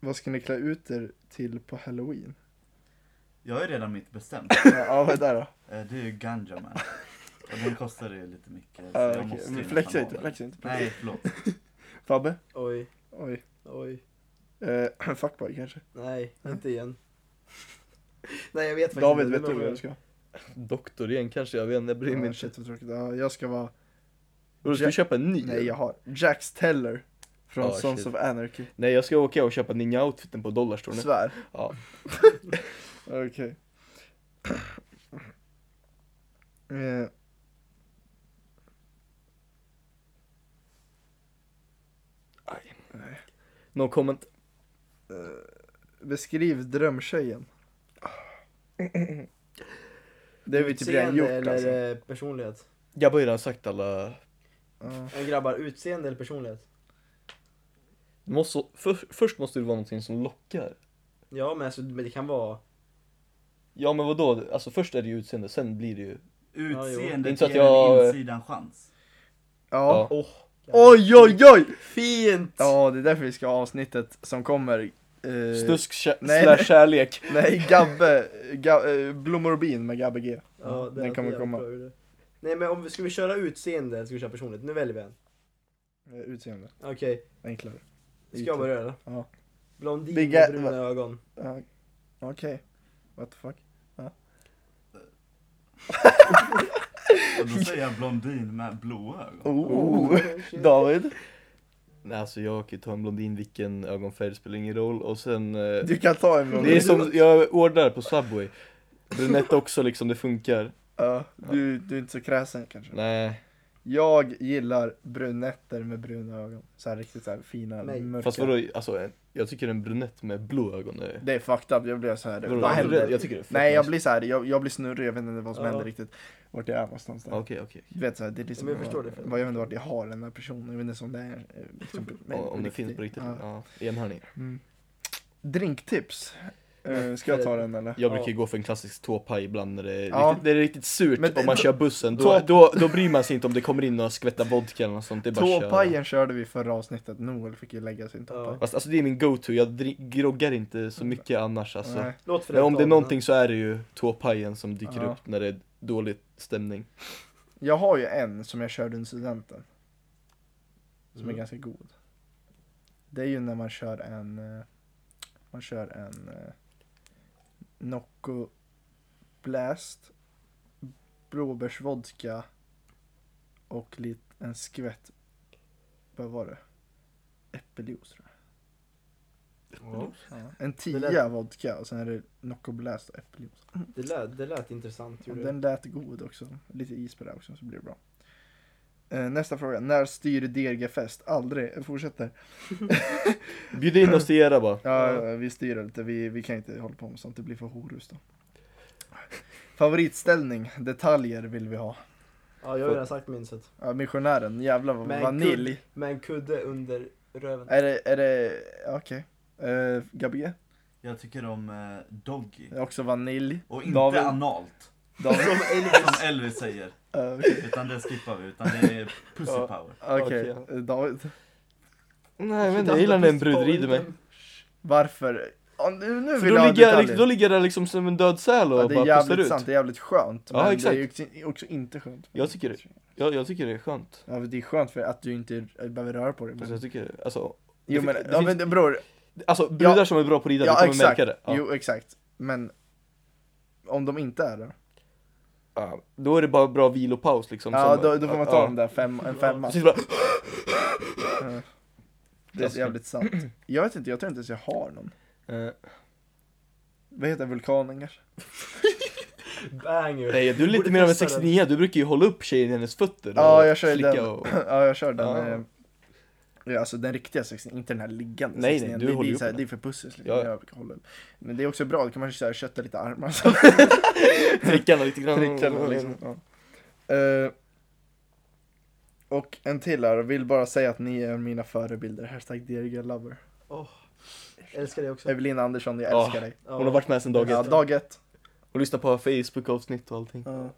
B: vad ska ni klä ut er till på halloween?
C: Jag har ju redan mitt bestämt.
B: ja, vad är det där då?
C: Eh, Det är ju ganja man. Och den kostar ju lite mycket. så
B: Ja, Ah,
C: jag
B: okej.
C: måste ju
B: Men
C: nästan
B: flexa
C: ha
B: inte,
C: den.
B: flexa inte.
C: Nej, förlåt.
B: Fabbe?
D: Oj,
B: Oj.
D: oj.
B: Eh, fuckboy kanske?
D: Nej, inte igen. Nej, jag vet faktiskt
B: David,
D: inte.
B: vet du vad du ska?
A: Doktor igen kanske, jag vet inte, jag bryr mig
B: Ja,
A: inte.
B: shit vad tråkigt. Ja, jag ska vara...
A: Vadå, ska du
B: Ja.
A: köpa en ny?
B: Nej, jag har Jax Teller. Från
A: Ja,
B: Sons
A: shit.
B: of Anarchy.
A: Nej, jag ska åka och köpa ninja-outfiten på Dollarstore nu.
B: Svär.
A: Ja.
B: Okej. Eh.
A: No comment.
B: Beskriv drömtjejen. Det har vi typ redan
D: Utseende
B: gjort
D: eller
B: alltså.
D: eh, personlighet?
A: Jag har ju redan sagt alla...
B: Ja.
D: Eh, Grabbar, utseende eller personlighet?
A: Du måste, för, först måste det vara någonting som lockar.
D: Ja, men, alltså, men det kan vara...
A: Ja men vadå, alltså först är det ju utseende, sen blir det ju... Det är
C: Utseendet
A: inte så att
C: ger
A: jag-
C: en insidan chans.
B: ja.
D: Åh!
B: Oj oj oj!
D: Fint!
B: Ja det är därför vi ska ha avsnittet som kommer. Eh,
A: Stusk kä-
B: nej.
A: slash kärlek.
B: Nej Gabbe, ga, eh, Blommor och bin med Gabbe G.
D: Ja,
B: den
D: var
B: kommer
D: jävligt
B: komma.
D: bra ur det. Nej men om vi, ska vi köra utseende eller ska vi köra personlighet? Nu väljer vi en.
B: Eh, Utseende,
D: Okej,
B: enklare.
D: ska jag börja eller?
B: Ja.
D: Blondin
B: Bigga-
D: med bruna ögon.
B: Ja, Okej, what the fuck. Ja.
C: Och då säger jag blondin med blåa ögon.
B: Oh. David,
A: Nej, alltså jag kan ju ta en blondin, vilken ögonfärg spelar ingen roll. Och sen... eh,
B: du kan ta en
A: Det är
B: blondin.
A: som, jag ordnar på Subway. Brunett också liksom, det funkar.
B: Ja, du, du är inte så kräsen kanske.
A: Nej,
B: Jag gillar brunetter med bruna ögon. Så här riktigt så här fina,
D: Nej.
B: mörka.
A: fast vadå, alltså en- jag tycker en brunett med blå ögon är...
B: Det är fucked up, jag blir så här.
A: Vadå,
B: vad
A: jag,
B: händer?
A: jag tycker det är fett
B: Nej, jag
A: nice.
B: blir så här, jag, jag blir snurrig, jag vet inte vad som
D: Ja.
B: händer riktigt. Vart jag är någonstans där.
A: Ja, Okej, okej.
B: Du vet så här, det är liksom,
D: Men jag förstår det.
B: vad jag vet inte vart jag har den här personen, jag vet inte om det är eh, liksom,
A: Om- Om det finns på riktigt.
B: Ja.
A: Ja, enhörningar.
B: Mm. Drinktips. Eh, ska jag ta den eller?
A: Jag brukar ju gå för en klassisk tåpaj ibland när det är,
B: Ja.
A: riktigt, när det är riktigt surt
B: Men
A: om man
B: tå-
A: kör bussen. Då,
B: tå-
A: då, då bryr man sig inte om det kommer in några skvätta vodka eller något sånt. Det är bara att köra.
B: Tåpajen körde vi i förra avsnittet, Noel fick ju lägga sin tåpaj.
D: Ja.
A: Fast, alltså det är min go-to, jag dri- groggar inte så mycket annars alltså.
B: Nej.
D: Låt för
A: Men om det är
D: David.
A: någonting så är det ju tåpajen som dyker
B: Ja.
A: upp när det är dålig stämning.
B: Jag har ju en som jag körde under studenten. Som
D: Mm.
B: är ganska god. Det är ju när man kör en... eh, Man kör en... eh, Nocco Blast. Blåbärsvodka. Och lite, en skvätt... Vad var det? Äppeljuice tror
D: Ja.
B: jag. Ja. En
D: Det lät-
B: tia vodka och sen är det Nocco Blast och äppeljuice.
D: Det lät, det lät intressant.
B: Ja,
D: gjorde
B: den lät god också. Lite is på det också så blir det bra. Eh, nästa fråga. När styr DRG-fest? Aldrig. Jag fortsätter.
A: Bjud in oss till era bara.
B: Ja,
D: Ja.
B: ja, vi styr det lite. Vi, vi kan inte hålla på med sånt. Det blir för horus då. Favoritställning. Detaljer vill vi ha.
D: Ja, jag har ju redan sagt min. Så att...
B: Ja, missionären. Jävlar vad
D: Men
B: vanilj.
D: Med en kudde under röven.
B: Är det, är det, ja, okej. Eh, Gabbe?
C: Jag tycker om eh, doggy.
B: Också vanilj.
C: Och inte
A: David.
C: analt.
B: David?
D: Som Elvis.
C: Som Elvis säger.
B: Eh, okej.
C: Utan det skippar vi. Utan det är pussy
A: Ja.
C: power.
B: Okej,
A: Okej.
B: eh, David.
A: Nej men jag gillar när en brud rider mig.
B: Varför? Ja, nu, nu
A: För
B: vill
A: då
B: jag ha
A: ligger, jag,
B: detaljer.
A: då ligger jag där liksom som en död säl och
B: Ja, det är
A: bara pustar
B: jävligt
A: ut.
B: sant, det är jävligt skönt.
A: Ja,
B: men
A: exakt.
B: det är ju också- också inte skönt.
A: Jag tycker det. Jag, jag tycker det är skönt.
B: Ja, men det är skönt för att du inte behöver röra på dig.
A: Alltså,
B: Men...
A: jag tycker, alltså,
B: Jo
A: det
B: men,
A: fin- det
B: ja,
A: finns-
B: men bror,
A: alltså brudar
B: Ja.
A: som är bra på att rida,
B: ja
A: du kommer
B: exakt.
A: märka det. Ja.
B: Jo exakt. Men om de inte är det?
A: Ja, Då är det bara bra vilopaus liksom.
B: Ja,
A: som-
B: då, då får man ta
A: ja.
B: den där fem, en femma.
A: Precis, bara,
B: Ja. Det är så jävligt sant. Jag vet inte, jag tror inte ens jag har någon.
A: eh,
B: Vad heter vulkanen kanske?
D: Banger.
A: nej, du är lite
D: Borde
A: mer av en
D: testa den.
A: 69 du brukar ju hålla upp tjejen i hennes fötter.
B: Ja,
A: och
B: jag kör ju
A: slicka
B: den.
A: och-
B: Ja, jag kör den.
A: Ja.
B: eh, Ja, alltså den riktiga sexen, inte den här liggande
A: Nej, nej,
B: sexningen.
A: du
B: det,
A: håller
B: det,
A: ju
B: är så här,
A: på
B: det är för pussel. Liksom.
A: Ja, ja.
B: Jag håller. upp. Men det är också bra, då kan man så här, kötta lite armar. Så.
A: Prickarna lite grann.
B: Prickarna liksom. Ja. Eh, och en till här, vill bara säga att ni är mina förebilder. Hashtag DRGlover.
D: Åh, älskar det också.
B: Evelina Andersson, jag
A: Ja.
B: älskar dig.
D: Ja.
A: Hon har varit med sedan dag
B: Ja,
A: ett.
B: dag ett.
A: Och lyssnat på Facebook-avsnitt och allting.
B: Ja.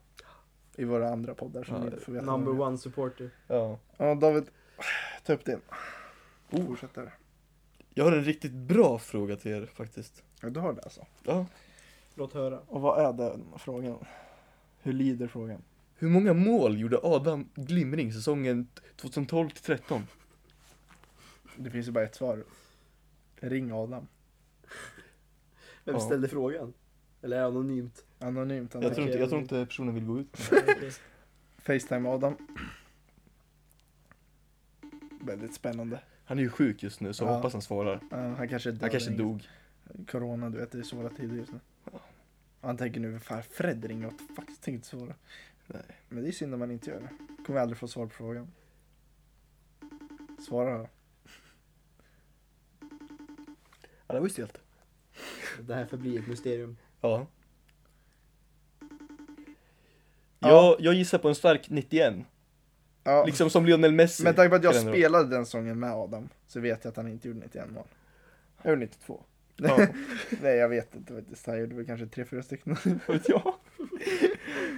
B: I våra andra poddar som
A: Ja,
B: ni inte får veta.
D: Number
B: om.
D: one supporter.
A: Ja.
B: Ja, David, ta upp din. Oh, fortsätter.
A: Jag har en riktigt bra fråga till er faktiskt.
B: Ja, du har det alltså.
A: Ja.
D: Låt höra.
B: Och vad är den frågan? Hur lyder frågan?
A: Hur många mål gjorde Adam Glimring säsongen 2012 till 13?
B: Det finns ju bara ett svar. Ring Adam.
D: Vem
A: Ja.
D: ställde frågan? Eller är det anonymt?
B: Anonymt.
A: Jag tror,
B: anonymt.
A: inte, jag tror inte personen vill gå ut.
B: Facetime Adam. Väldigt spännande.
A: Han är ju sjuk just nu så jag
B: Ja.
A: hoppas han svarar.
B: Ja, han kanske dör.
A: Han kanske
B: länge.
A: dog.
B: Corona, du vet, det är svåra tider just nu. Han tänker nu, fan Fred ringer åt faktiskt inte svåra.
A: Nej.
B: Men det är synd om man inte gör det. Kommer aldrig få svar på frågan. Svara då.
A: Ja, det var ju stelt.
D: Det här förblir ett mysterium.
A: Ja.
B: Ja.
A: Jag, jag gissar på en stark 91.
B: Ja.
A: Liksom som Lionel Messi.
B: Men tack vare att jag
A: Kan ändå-
B: spelade den sången med Adam så vet jag att han inte gjorde 91 mål. Jag gjorde 92.
A: Ja,
B: Nej jag vet inte faktiskt, han gjorde väl kanske 3-4 stycken.
A: vad vet jag.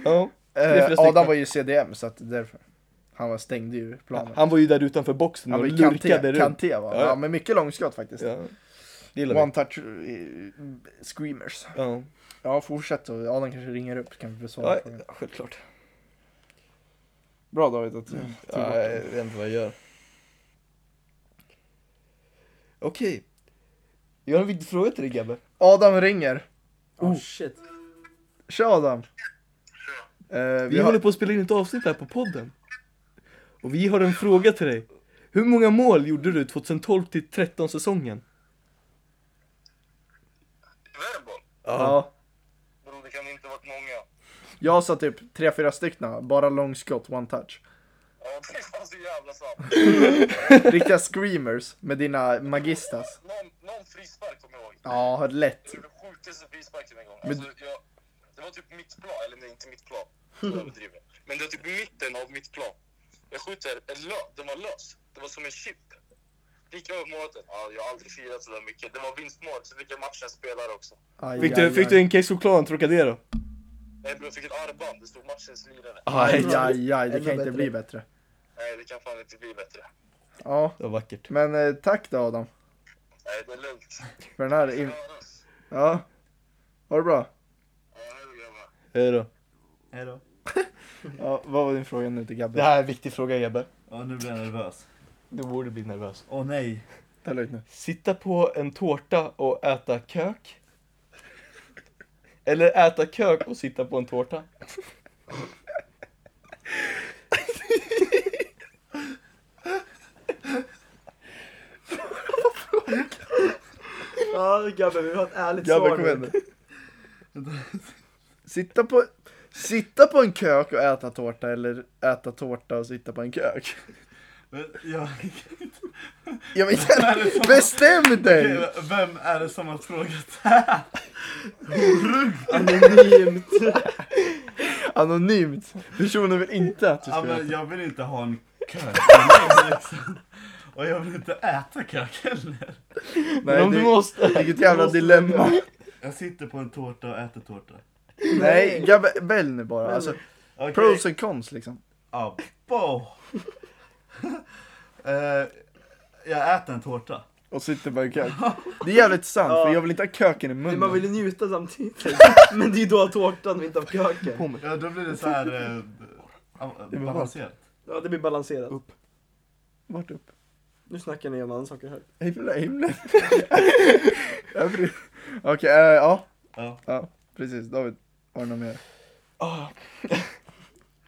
A: Ja.
B: Eh,
A: stycken.
B: Adam var ju CDM så att därför. Han var, stängde ju planen.
A: Han var ju där utanför boxen
B: Han
A: och
B: var ju
A: lurkade
B: Kanté,
A: runt.
B: Kanté var
A: Ja, ja.
B: han. Ja, men mycket långskott faktiskt.
A: Ja. Det gillar vi.
B: One touch eh, screamers.
A: Ja.
B: Ja, fortsätt och Adam kanske ringer upp så kan vi besvara
A: Ja,
B: frågan.
A: självklart.
B: Bra David att du tog bort
A: Ja, jag
B: den.
A: vet inte vad jag gör. Okej. Jag har en viktig fråga till dig Gabbe.
B: Adam ringer.
D: Oh
A: Oh.
D: shit.
B: Tja Adam! Eh,
A: Vi håller på att spela in ett avsnitt här på podden. Och vi har en fråga till dig. Hur många mål gjorde du 2012 till 13 säsongen?
E: Verbal?
B: ja,
E: Bro, det kan inte varit många.
B: jag sa typ 3-4 stycken, bara långskott, one touch.
E: Ja, det är fan så jävla sant.
B: Riktiga screamers med dina magistas.
E: Någon, någon frispark kommer jag ihåg.
B: Ja, lätt.
E: Det var den sjukaste frisparken en gång. Alltså, jag, det var typ mittplan, eller nej, inte mittplan. Då överdriver jag. Men det var typ mitten av mittplan. Jag skjuter, en lö, den var lös. Det var som en chip. Gick över målet. Ja, jag har aldrig firat sådär mycket. Det var vinstmål, så fick jag matchens spelare också.
B: Aj,
A: Fick du,
B: aj,
A: fick du en Keso Clan Trocadero?
E: Nej, bror, jag fick ett armband. Det stod matchens lirare.
B: Aj, aj, aj, det
D: Ännu
B: kan inte
D: bättre.
B: bli bättre.
E: Nej, det kan fan inte bli bättre.
B: Ja,
A: Det var vackert.
B: men eh, tack då Adam.
E: Nej, det är lugnt.
B: För den här...
E: Vi
B: In-
E: hörs.
B: ja. Ha det bra.
E: Ja, hej då, grabbar.
A: Hej då.
C: Hej då.
B: Ja, vad var din fråga nu till
A: Det
B: Gabbe?
A: här är en viktig fråga Ebbe.
C: Ja, nu blir jag nervös.
A: Du borde bli nervös.
C: Åh nej.
B: Ta lugnt nu.
A: Sitta på en tårta och äta kök? Eller äta kök och sitta på en tårta?
D: Ja, Gabbe, vi har ett ärligt
B: Gabbe
D: svar
B: kom igen
D: nu.
B: nu. Sitta på... Sitta på en kök och äta tårta eller äta tårta och sitta på en kök?
C: Men jag...
B: Jag vet
C: Vad är det som-
B: bestäm
C: Okej,
B: dig!
C: Vem är det som har frågat det här?
D: Anonymt.
B: Anonymt. Personen vill inte att du
C: Ja,
B: ska
C: men
B: äta.
C: jag vill inte ha en kök. Nej, liksom. Och jag vill inte äta kök heller.
A: Men
B: Nej,
A: om du
B: det-
A: måste.
B: Vilket jävla
D: måste
B: dilemma.
C: Jag sitter på en tårta och äter tårta.
B: Nej, Gabbe, välj nu bara. Alltså,
C: Okej.
B: pros and cons liksom.
C: Ja, bo. Eh, jag äter en tårta.
B: Och sitter på en kök. Det är jävligt sant,
D: Ja.
B: för jag vill inte ha köken i
D: Men
B: munnen.
D: Man vill ju njuta samtidigt. Men det är ju då av tårtan och inte av köken.
C: Ja, då blir det så här eh, av-
B: men vad?
C: balanserat.
D: Ja, det blir balanserat.
A: Upp.
B: Vart upp?
D: Nu snackar ni om andra saker här.
B: Himla, himla. Jag bry- Okej, eh, ja.
C: Ja.
B: Ja, precis. David, har du något mer?
A: Ah.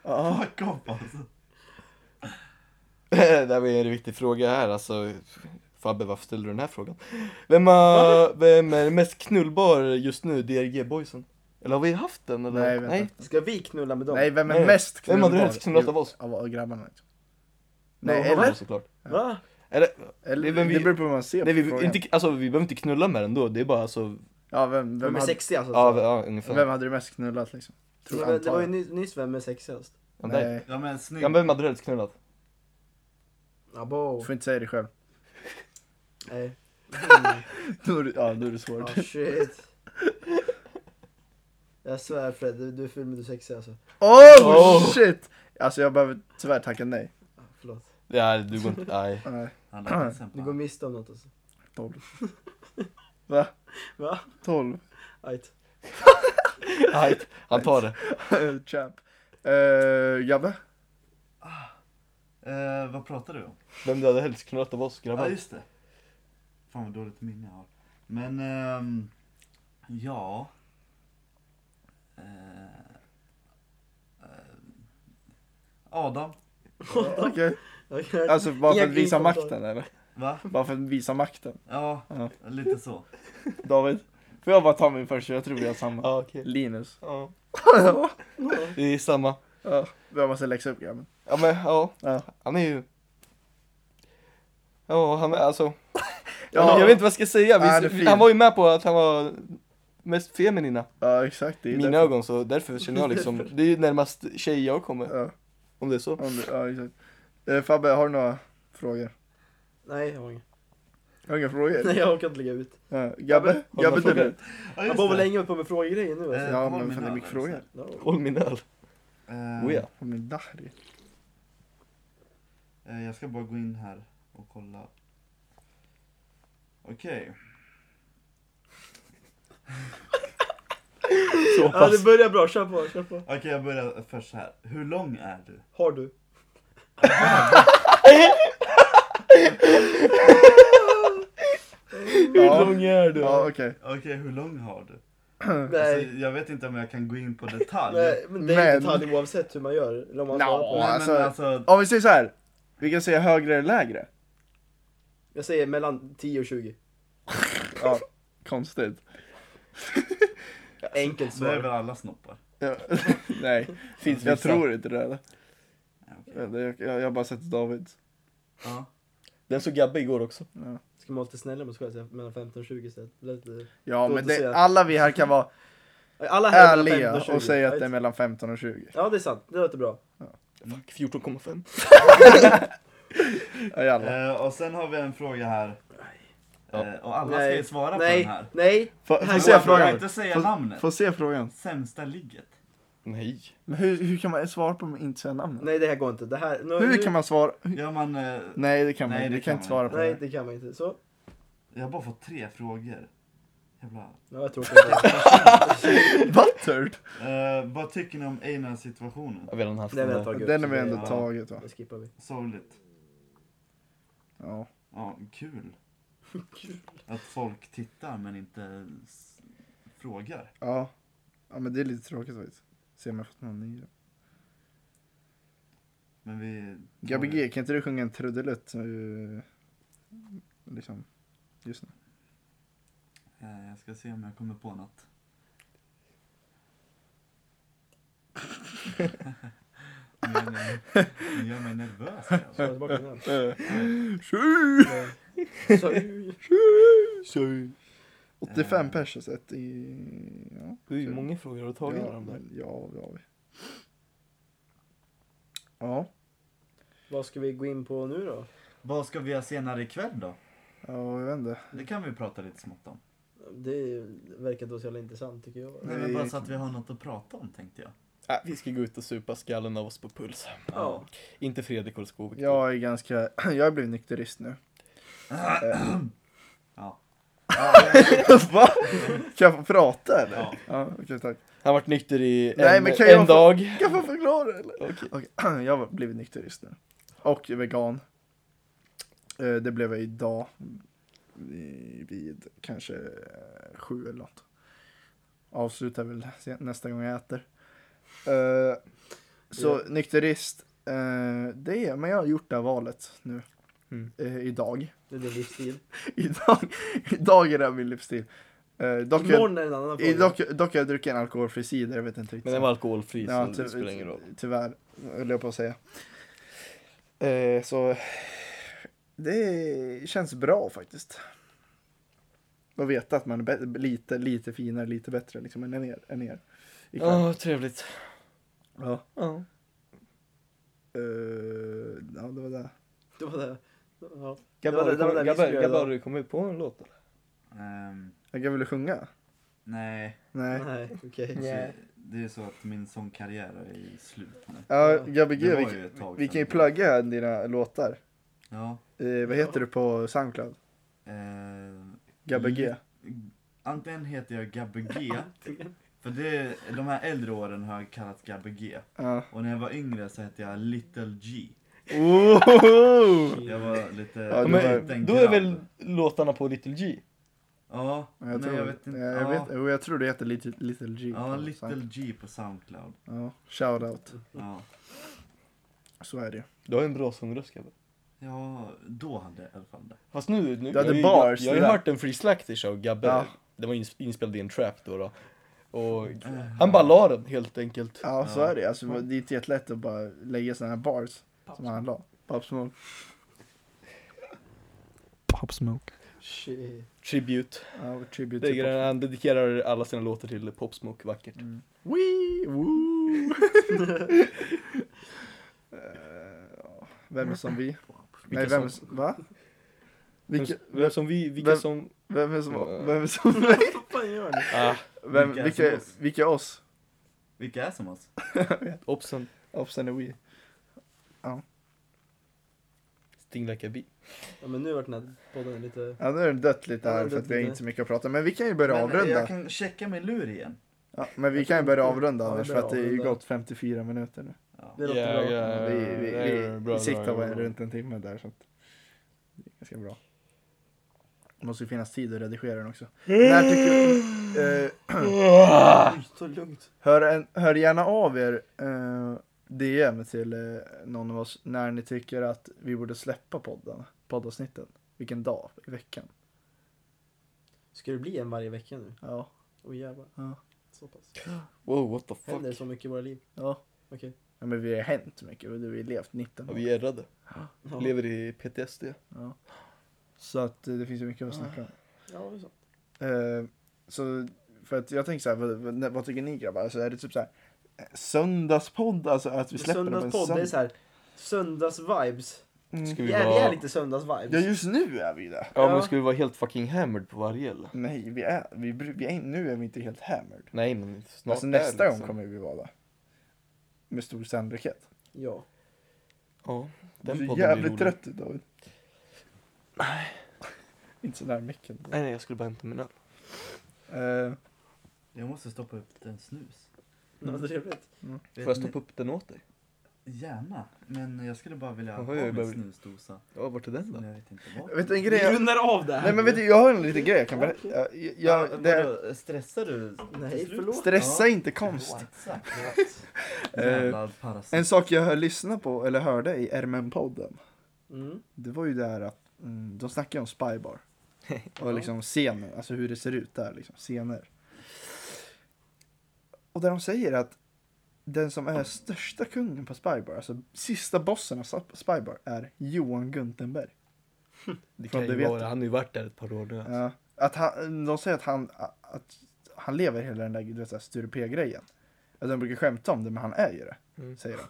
B: Ja.
C: Fuck off alltså.
A: det här var ju en viktig fråga här alltså. Fabbe, varför ställde du den här frågan? Vem, har, vem är mest knullbar just nu, DRG-boysen? Eller har vi haft den eller?
B: Nej, vänta.
D: Ska vi knulla med dem?
B: Nej, vem är
A: Nej.
B: mest
A: Vem hade du
B: knullbar?
A: helst knullat av oss?
B: Jo, Av grabbarna. liksom.
A: Nej,
B: Nej,
A: ja, eller?
B: eller?
A: Såklart.
D: Va?
A: Eller,
B: eller
A: Det är vem vi-
B: Det beror på hur man ser
A: nej,
B: på
A: vi,
B: frågan.
A: inte, alltså, vi behöver inte knulla med den då, det är bara alltså,
B: Ja, vem, vem,
D: Vem är
B: hade,
D: sexig alltså?
A: ja, ja ungefär.
B: vem hade du mest knullat liksom? Tror,
D: Men det var ju
B: antagligen.
D: nyss, nyss vem är sexigast?
A: Ja, nej.
B: Nej,
C: Ja men snygg.
A: Ja, men vem hade du helst knullat?
D: Ja,
B: du
D: bo.
B: får inte säga det själv.
D: Nej. Mm.
B: Då är det, ja, då är det svårt.
D: Ja, Oh, shit. Jag svär Fred, du, du är ful men du är sexig alltså.
B: Oh,
A: Oh.
B: shit! Alltså jag behöver tyvärr tacka nej.
D: Ja, Förlåt.
A: Nej, du går inte, nej.
B: Nej,
C: Han är ledsen
D: Du går
C: på.
D: miste om något alltså.
B: 12. Va?
D: Va?
B: 12?
D: Ajt.
A: nej. Han tar det.
B: Champ. Uh, Gabbe?
C: Eh, vad pratar du om?
A: Vem du hade helst knullat av oss
C: Ja
A: grabbar?
C: just det. Fan vad dåligt minne jag har. Men ehm, ja. Eh, eh, Adam.
B: Okej.
D: Okej.
B: Alltså bara för
D: Jag
B: att visa
D: inkommer.
B: makten eller?
C: Va?
B: Bara för att visa makten.
C: Ja,
B: Ja.
C: lite så.
B: David? Får jag bara ta min första? Jag tror vi har samma.
A: Ja, okej.
B: Linus.
A: Ja.
B: ja.
A: Det är samma.
B: Jag måste läxa upp grabben.
A: Ja men ja,
B: Ja.
A: han är ju... Ja, han är alltså...
B: Ja.
A: Jag vet inte vad jag ska säga,
B: Nej, det är
A: vi,
B: fint.
A: han var ju med på att han var mest feminina
B: Ja exakt. Det
A: i
B: är
A: mina
B: därför.
A: ögon så därför känner jag liksom, det är ju närmast tjej jag kommer,
B: Ja,
A: om det är så.
B: om du, ja exakt. Eh, Fabbe, har du några frågor?
D: Nej, jag har inget.
B: Har du inga frågor?
D: Nej, jag orkar inte lägga ut.
B: Ja. Gabbe?
A: några
B: Gabbe du
A: frågor?
B: vet.
C: Ja,
D: Jag
C: just
D: bor väl
C: det.
D: länge på med frågegrejer nu alltså.
C: Eh,
B: Ja
C: håll
B: men
C: min
B: fan det är
C: öl,
B: mycket
C: liksom.
B: frågor.
D: No.
A: Håll min öl.
C: Eh,
A: Oh, ja.
B: Har min Dahri.
C: eh, jag ska bara gå in här och kolla. Okej.
A: Så
D: Ja,
A: pass.
D: det börjar bra. Kör på, kör på.
C: Okej, jag börjar först så här. Hur lång är du?
D: Har du?
A: Hur lång är du?
B: Ja okej.
C: Okej, hur lång har du?
D: Nej.
C: Alltså, jag vet inte om jag kan gå in på detalj.
D: Nej, men det är
B: Men-
D: inte detalj oavsett hur man gör. Eller om man
B: Nå.
D: svarar på.
C: Nej,
D: det.
C: men
B: alltså-
C: alltså,
B: Om vi säger så här. Vi kan säga högre eller lägre.
D: Jag säger mellan 10 och 20.
B: Ja, konstigt.
D: Enkelt
C: det är väl
D: svar.
C: alla snoppar.
B: Ja, nej, finns, jag
C: Vissa.
B: tror inte det.
C: Ja, okej.
B: Eh, det jag, jag har bara sett David.
C: Ja.
A: Den såg Gabbe igår också.
D: Ska man vara lite snällare mot sig själv säga mellan 15 och 20 istället. Det är lite-
B: Ja,
D: Låt
B: men
D: oss
B: det,
D: säga-
B: alla vi här kan vara
D: Alla här är mellan 15
B: ärliga och säga att det är mellan 15 och 20.
D: Ja, det är sant. Det låter bra.
A: Fuck, 14,5.
B: Ja, jävlar.
C: Eh, och sen har vi en fråga här. Eh, och alla ska
D: Nej.
C: ju svara på
D: Nej,
C: den här.
D: nej.
B: Får,
D: här
B: får
D: går
B: se
C: Jag får
B: frågan.
C: inte säga
B: Får,
C: namnet.
B: får se frågan.
C: Sämsta ligget.
A: Nej.
B: Men hur, hur kan man svara på om man inte säger namnet?
D: Nej, det här går inte. Det här... nu-
B: Hur
D: nu-
B: kan man svara?
C: Gör man... Eh,
B: Nej, det kan man
C: Nej,
B: inte.
C: det
B: Du
C: kan
B: kan inte
C: man
B: svara på
D: Nej,
B: det.
D: det kan man inte. Så.
C: jag har bara fått tre frågor. Jävla...
D: Ja, jag tror på det.
B: Buttered?
C: Eh, vad tycker ni om Einar-situationen?
A: Jag har redan haft
D: Det har
A: den
D: vi redan
A: där.
D: tagit upp.
B: Den
D: så
B: har vi
D: det-
B: ändå
C: Ja.
B: tagit va?
D: Det skippar vi.
C: Sorgligt.
B: Ja.
C: Ja, kul. Att folk tittar men inte s- frågar.
B: ja. Ja, men det är lite tråkigt faktiskt. Se om jag fått någon ny.
C: Men vi...
B: Gbg, kan inte du sjunga en trudelutt? eh, Liksom, just nu.
C: Eh, jag ska se om jag kommer på något. Ni gör mig- ni eh, gör mig nervös. alltså.
D: Så tillbaka till den.
B: Eh. Tju!
D: Så,
C: Eh.
B: 85 pers har sett i... Ja.
A: Hur många frågor har du tagit?
B: ja,
A: av de där?
B: men- ja, det har vi. Ja.
D: vad ska vi gå in på nu då?
C: Vad ska vi göra senare ikväll då?
B: Ja, jag vet inte.
C: Det kan vi prata lite smått om.
D: Det verkar då så jävla intressant tycker jag.
C: Nej, men bara så att vi har något att prata om tänkte jag.
A: Ah, vi ska gå ut och supa skallen av oss på puls.
D: Ja.
A: Inte Fredrik Olskovik.
B: Jag är ganska... Jag har blivit nykterist nu.
C: Ja.
B: Va? Kan jag få prata eller?
C: Ja.
B: ja Okej, tack.
A: Han har varit nykter i en,
B: Nej, men kan jag
A: en
B: få-
A: dag.
B: Kan jag få förklara eller?
A: Okej.
B: Okej, jag har blivit nykterist nu. Och vegan. Eh, Det blev jag idag. i- Vid kanske eh, sju eller något. Avslutar väl se- nästa gång jag äter. Eh, Så nykterist. eh, Det är, men jag har gjort det här valet nu.
A: Mm.
B: Eh, Idag.
D: Det är din livsstil.
B: Idag, idag är det här min livsstil. Eh, Dock har jag-
D: Imorgon är det en annan
B: i-
D: fråga.
B: dock- dock har jag druckit en alkoholfri cider, jag vet inte riktigt.
A: Men den var alkoholfri
B: Ja,
A: så
B: ty-
A: det spelar ingen roll.
B: Tyvärr, höll jag på att säga. Eh, så det känns bra faktiskt. Att veta att man är bä- lite, lite finare, lite bättre liksom, än er. Än er ikväll.
A: Ja, trevligt.
B: Ja.
A: Ja.
B: Eh, ja, det var det.
D: Det var det. Ja. Det
A: Gabbe,
D: var
A: har du
D: det- det var det
A: kommit-
D: vi
A: Gabbe,
D: skulle göra
A: Gabbe,
D: då.
A: har du kommit på en låt?
C: Ehm,
B: Jag ville sjunga.
C: nej,
B: Nej.
D: Nej, okej.
A: Nej.
C: det är så att min sångkarriär är slut nu.
B: Ja, Gabby G,
C: Det var
B: vi,
C: ju ett tag
B: vi
C: sedan.
B: kan ju plugga dina låtar.
C: Ja.
B: Eh, vad heter du på Soundcloud?
C: ehm,
B: Gabby G.
C: Lite- antingen heter jag Gabbe G, för det, de här äldre åren har jag kallat Gabbe G.
B: Ja.
C: Och när jag var yngre så hette jag Little G.
B: Oh!
C: Jag var lite
B: Ja,
A: Ja,
B: du
A: men,
C: liten
A: då är
C: grabb.
A: väl låtarna på Little G?
C: Ja,
B: Ja, Jag
C: nej,
B: tror,
C: jag vet inte.
B: ja, jag,
C: ja,
B: vet, jo, jag tror det heter Little, little G.
C: ja,
B: på
C: Little
B: Sound-
C: G på Soundcloud.
B: alltså. Ja, shout out.
C: Ja.
B: Så är det
A: Du har ju en bra sångröst Gabbe.
C: ja, då hade jag i alla fall det.
A: Fast nu, nu
B: Du hade
A: jag,
B: bars,
A: jag,
B: det där.
A: jag har ju hört en Free Slaktish av Gabbe.
B: Ja.
A: Den var ins- inspelad i en trap då. då. Och han bara la den helt enkelt.
B: Eh. Ja, så
C: Ja.
B: är det alltså, Det är inte jättelätt att bara lägga såna här bars som han la. Pop Smoke. Pop Smoke.
D: Shit.
A: Tribute.
B: Ja, och tribute
A: Det
B: till
A: är,
B: Pop
A: grejen, han dedikerar alla sina låtar till Pop Smoke, vackert.
B: Wee, woo. Eh, ja. Vem är som vi? Nej,
A: Vilka
B: vem är som... Va?
A: Vem,
B: Vilka,
A: vem som vi, vilka
B: vem-
A: som...
B: vem är som...
A: Eh.
B: Vem är som...
D: Vad fan gör ni?
A: Ah,
B: Vem,
C: Vilka
B: vilka,
C: är som oss?
B: vilka oss?
C: Vilka är som oss?
A: Opsen.
B: Opsen är we.
A: Sting like a bee.
D: Ja, men nu vart den här podden lite...
B: Ja, nu är det dött lite
D: Ja,
B: här
D: det
B: för att vi har
D: lite.
B: inte så mycket att prata om. Men vi kan ju börja
C: Men eh,
B: avrunda.
C: jag kan checka min lur igen.
B: Ja, men vi
D: Jag
B: kan ju
D: tror
B: börja
D: inte-
B: avrunda
D: Ja, vi
B: annars för
D: börjar
B: att det är ju
D: avrunda.
B: gått 54 minuter nu.
C: Ja.
D: Det låter bra.
B: Ja, vi vi,
A: det
B: vi,
A: är bra,
B: vi siktar
A: bra,
B: på
A: bra.
B: runt en timme där så att det är ganska bra. Det måste ju finnas tid att redigera den också. När tycker du, eh,
D: Oj, ta det lugnt.
B: hör, en, hör gärna av er eh, DM till eh, någon av oss när ni tycker att vi borde släppa podden, poddavsnitten. Vilken dag i veckan.
D: Ska det bli en varje vecka nu?
B: Ja,
D: Oj jävlar.
B: Ja.
D: Så pass.
A: Wow, what the fuck.
D: Händer det så mycket i våra liv?
B: ja.
D: Okej.
B: ja men vi har hänt mycket. Vi har ju levt 19
A: Ja,
B: år.
A: vi är rädda.
D: Ja.
A: Lever i PTSD.
B: Så att eh, det finns ju mycket att snacka om.
D: Ja, det är så.
B: Eh, så för att jag tänker så här, vad, vad, vad tycker ni grabbar? Alltså är det typ så här eh, söndagspodd? Alltså att vi släpper dem en
D: Söndagspodd, det är
B: söndag?
D: såhär söndags-vibes.
B: Mm.
A: Ska
D: Vi
A: vi
D: är, vi är
A: vara...
D: lite söndags-vibes.
B: Ja just nu är vi ju det.
A: Ja
D: Ja.
A: men ska vi vara helt fucking hammered på varje eller?
B: Nej, vi är, vi, br- vi är, nu är vi inte helt hammered.
A: Nej men snart
B: alltså
A: är
B: nästa
A: liksom.
B: gång kommer vi vara det. Med stor sannolikhet.
D: ja.
A: Ja,
B: Den
A: den
B: du
A: podden
B: är
A: blir
B: jävligt
A: rolig.
B: trött David. Nej. Inte så nära micken.
A: Nej nej jag skulle bara hämta min öl.
B: Eh,
C: Jag måste stoppa upp den snus.
D: Mm. Vad trevligt.
A: Får
C: Vet
A: jag
C: ni-
A: stoppa upp den åt dig?
C: Gärna, men jag skulle bara vilja
A: Jaha,
C: ha
A: jag
C: min
A: behöver-
C: snusdosa.
A: Ja vart är den
C: Men
A: då?
C: jag vet inte vad.
B: vet du en
D: Vi
B: grej? Jag,
D: rundar av det här.
B: nej men vet du, jag har en liten grej jag kan berätta. Jag, jag,
C: Ja,
B: det,
C: vadå, stressar du?
D: Nej,
C: till slut?
D: förlåt.
B: stressa
C: Ja.
B: inte konst.
C: Stressa.
B: Eh,
C: Jävla parasit.
B: En sak jag hör- lyssnade på, eller hörde i RMM-podden,
D: Mm.
B: det var ju där att mm, de snackar om Spybar. Och liksom scenen, alltså hur det ser ut där, liksom, scener. Och där de säger att den som är största kungen på Spybar, alltså sista bossen av Sp- Spybar, är Johan Guntenberg. Det kan du vet.
A: han har ju varit där ett par år nu.
B: Ja, att han, de säger att han, att han lever hela den där du vet, så här Sture P-grejen. Att de brukar skämta om det, men han är ju det.
A: Mm.
B: Säger de.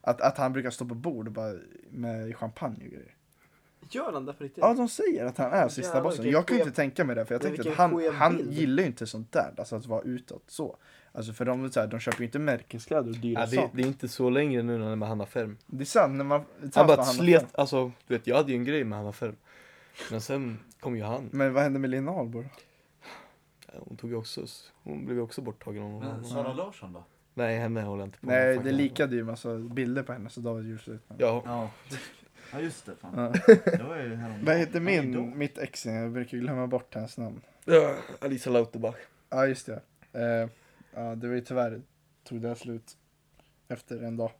B: Att, att han brukar stå på bord och bara med champagne och grejer.
D: Gör han det på riktigt?
B: Ja, de säger att han är sista
D: Jävlar,
B: bossen.
D: vilken
B: Jag kunde
D: skev-
B: inte tänka mig det, för jag
D: Men
B: tänkte
D: vilken
B: att han,
D: skev
B: han
D: bild.
B: gillar ju inte sånt där. Alltså att vara utåt så. Alltså för de, är så här, de köper ju inte märkeskläder och dyra
A: Ja, det,
B: saker.
A: det är inte så längre nu när han är med Hanna Ferm.
B: Det är sant, när man...
A: Han
B: träffar
A: bara slet, alltså du vet jag hade ju en grej med Hanna Ferm. Men sen kom ju han.
B: Men vad hände med Lena Ahlborg?
A: Hon tog ju också, hon blev ju också borttagen av
C: Men
A: honom.
C: Sara Larsson då?
A: Nej henne håller jag inte på med.
B: Nej,
A: Fuck
B: det
A: henne.
B: likade ju massa bilder på henne så David gjorde slut med
A: Ja,
C: Ja. ja, just det. Fan.
B: Ja.
C: Det var ju häromdagen.
B: Vad heter
C: Nej, då.
B: min, mitt ex? Jag brukar ju glömma bort hennes namn.
A: Ja, Alisa Lauterbach.
B: Ja, just det. Eh, ja, det var ju tyvärr, tog det här slut efter en dag.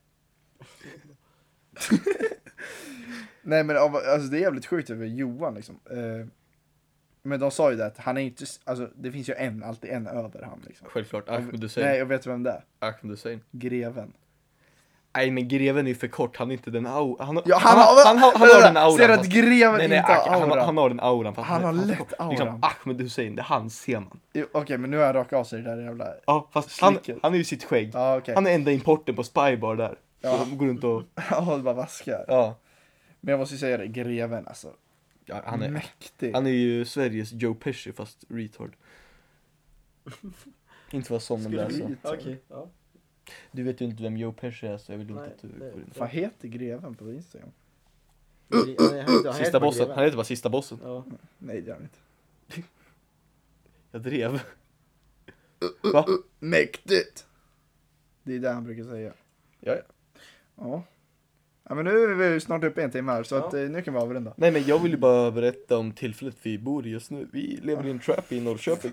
B: Nej men av- alltså det är jävligt sjukt över Johan liksom. Eh, men de sa ju det att han är inte, s- alltså det finns ju en, alltid en över han liksom.
A: Självklart, Ahmed Hussein.
B: Nej, jag vet vem det är.
A: Ahmed Hussein.
B: Greven.
A: Nej men greven är ju för kort, han är inte den au... Han, har-
B: Ja,
A: han, har- han, har- han har den auran.
B: Ser att
A: fast-
B: greven
A: nej, nej,
B: inte har
A: han,
B: auran?
A: han har den auran. fast
B: Han
A: är-
B: har
A: är
B: lätt
A: kort.
B: auran.
A: Liksom Ahmed Hussein, det är han ser man.
B: Jo, Okej men nu har han rakat av sig det där jävla...
A: Ja fast han,
B: Slicket.
A: han är ju sitt skägg.
B: Ja okej.
A: Han är enda importen på Spybar där.
B: Ja.
A: Så de går runt och...
B: Ja, det bara vaskar.
A: Ja.
B: Men jag måste ju säga det, greven alltså.
A: ja han, är,
B: Mäktig.
A: han är ju Sveriges Joe Pesci fast retard. inte vara sån men det är
B: Skulle
A: alltså.
B: bli-
D: Okej, ja.
A: Du vet ju inte vem Joe Pesci är så jag vill inte
D: Nej,
A: att du
D: det-
A: går in.
B: Vad heter greven på Instagram? Mm.
D: Nej, nej, han- han-
A: Sista bossen, han heter bara Sista bossen.
D: Ja.
B: Nej det gör han inte.
A: Jag drev.
B: Mäktigt! Det är det han brukar säga.
A: Ja, ja.
B: Ja. Ja men nu är vi ju snart uppe i en timme här så
D: Ja.
B: att, eh, nu kan vi avrunda.
A: Nej men jag vill ju bara berätta om tillfället vi bor i just nu. Vi lever i en trap i Norrköping.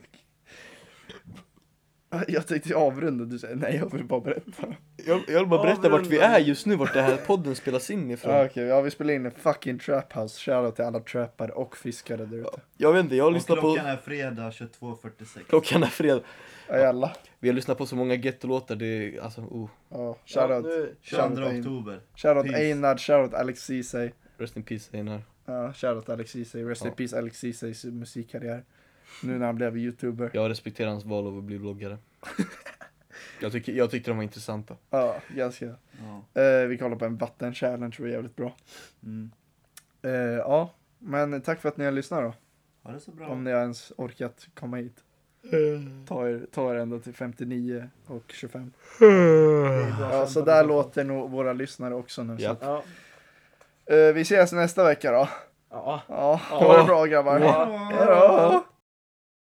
B: Jag tänkte ju avrunda du säger nej jag vill bara berätta.
A: Jag, jag vill bara berätta vart vi är just nu, vart det här podden spelas in
B: Ja,
A: ifrån.
B: Okej, ja vi spelar in en fucking trap house. Shoutout till alla trappare och fiskare där ute.
A: Jag vet inte, jag har
C: Och
A: lyssnat
C: klockan
A: på...
C: är fredag 22.46.
A: Klockan är fredag.
B: Ja alla.
A: Vi har lyssnat på så många gettolåtar, det är alltså... Oh,
B: Ja,
D: Ja,
B: shoutout.
D: nu,
C: 22
B: Shoutout in.
C: oktober.
B: Shoutout
C: Peace.
B: Einar, shoutout Alex Ceesay.
A: rest in peace Einar.
B: Ja, shoutout Alex Ceesay. Rest in
A: Ja.
B: peace Alex Ceesays musikkarriär. Nu när han blev youtuber.
A: Jag respekterar hans val av att bli vloggare. Jag, tycker, jag tyckte de var intressanta.
B: Ja, ganska.
C: Ja.
B: Eh, vi kollar på en vattenchallenge, det var jävligt bra.
C: Mm.
B: Eh, ja, men tack för att ni har lyssnat då.
C: Ha det så bra.
B: Om ni har ens orkat komma hit.
D: Eh.
B: Ta er, ta er ända till 59 och 25. Ja, så där låter nog våra lyssnare också nu.
A: Ja.
D: ja.
B: Så, eh, vi ses nästa vecka då.
D: ja.
B: Ja,
D: Ja.
B: ha det bra grabbar.
D: Ja.
B: Hej då.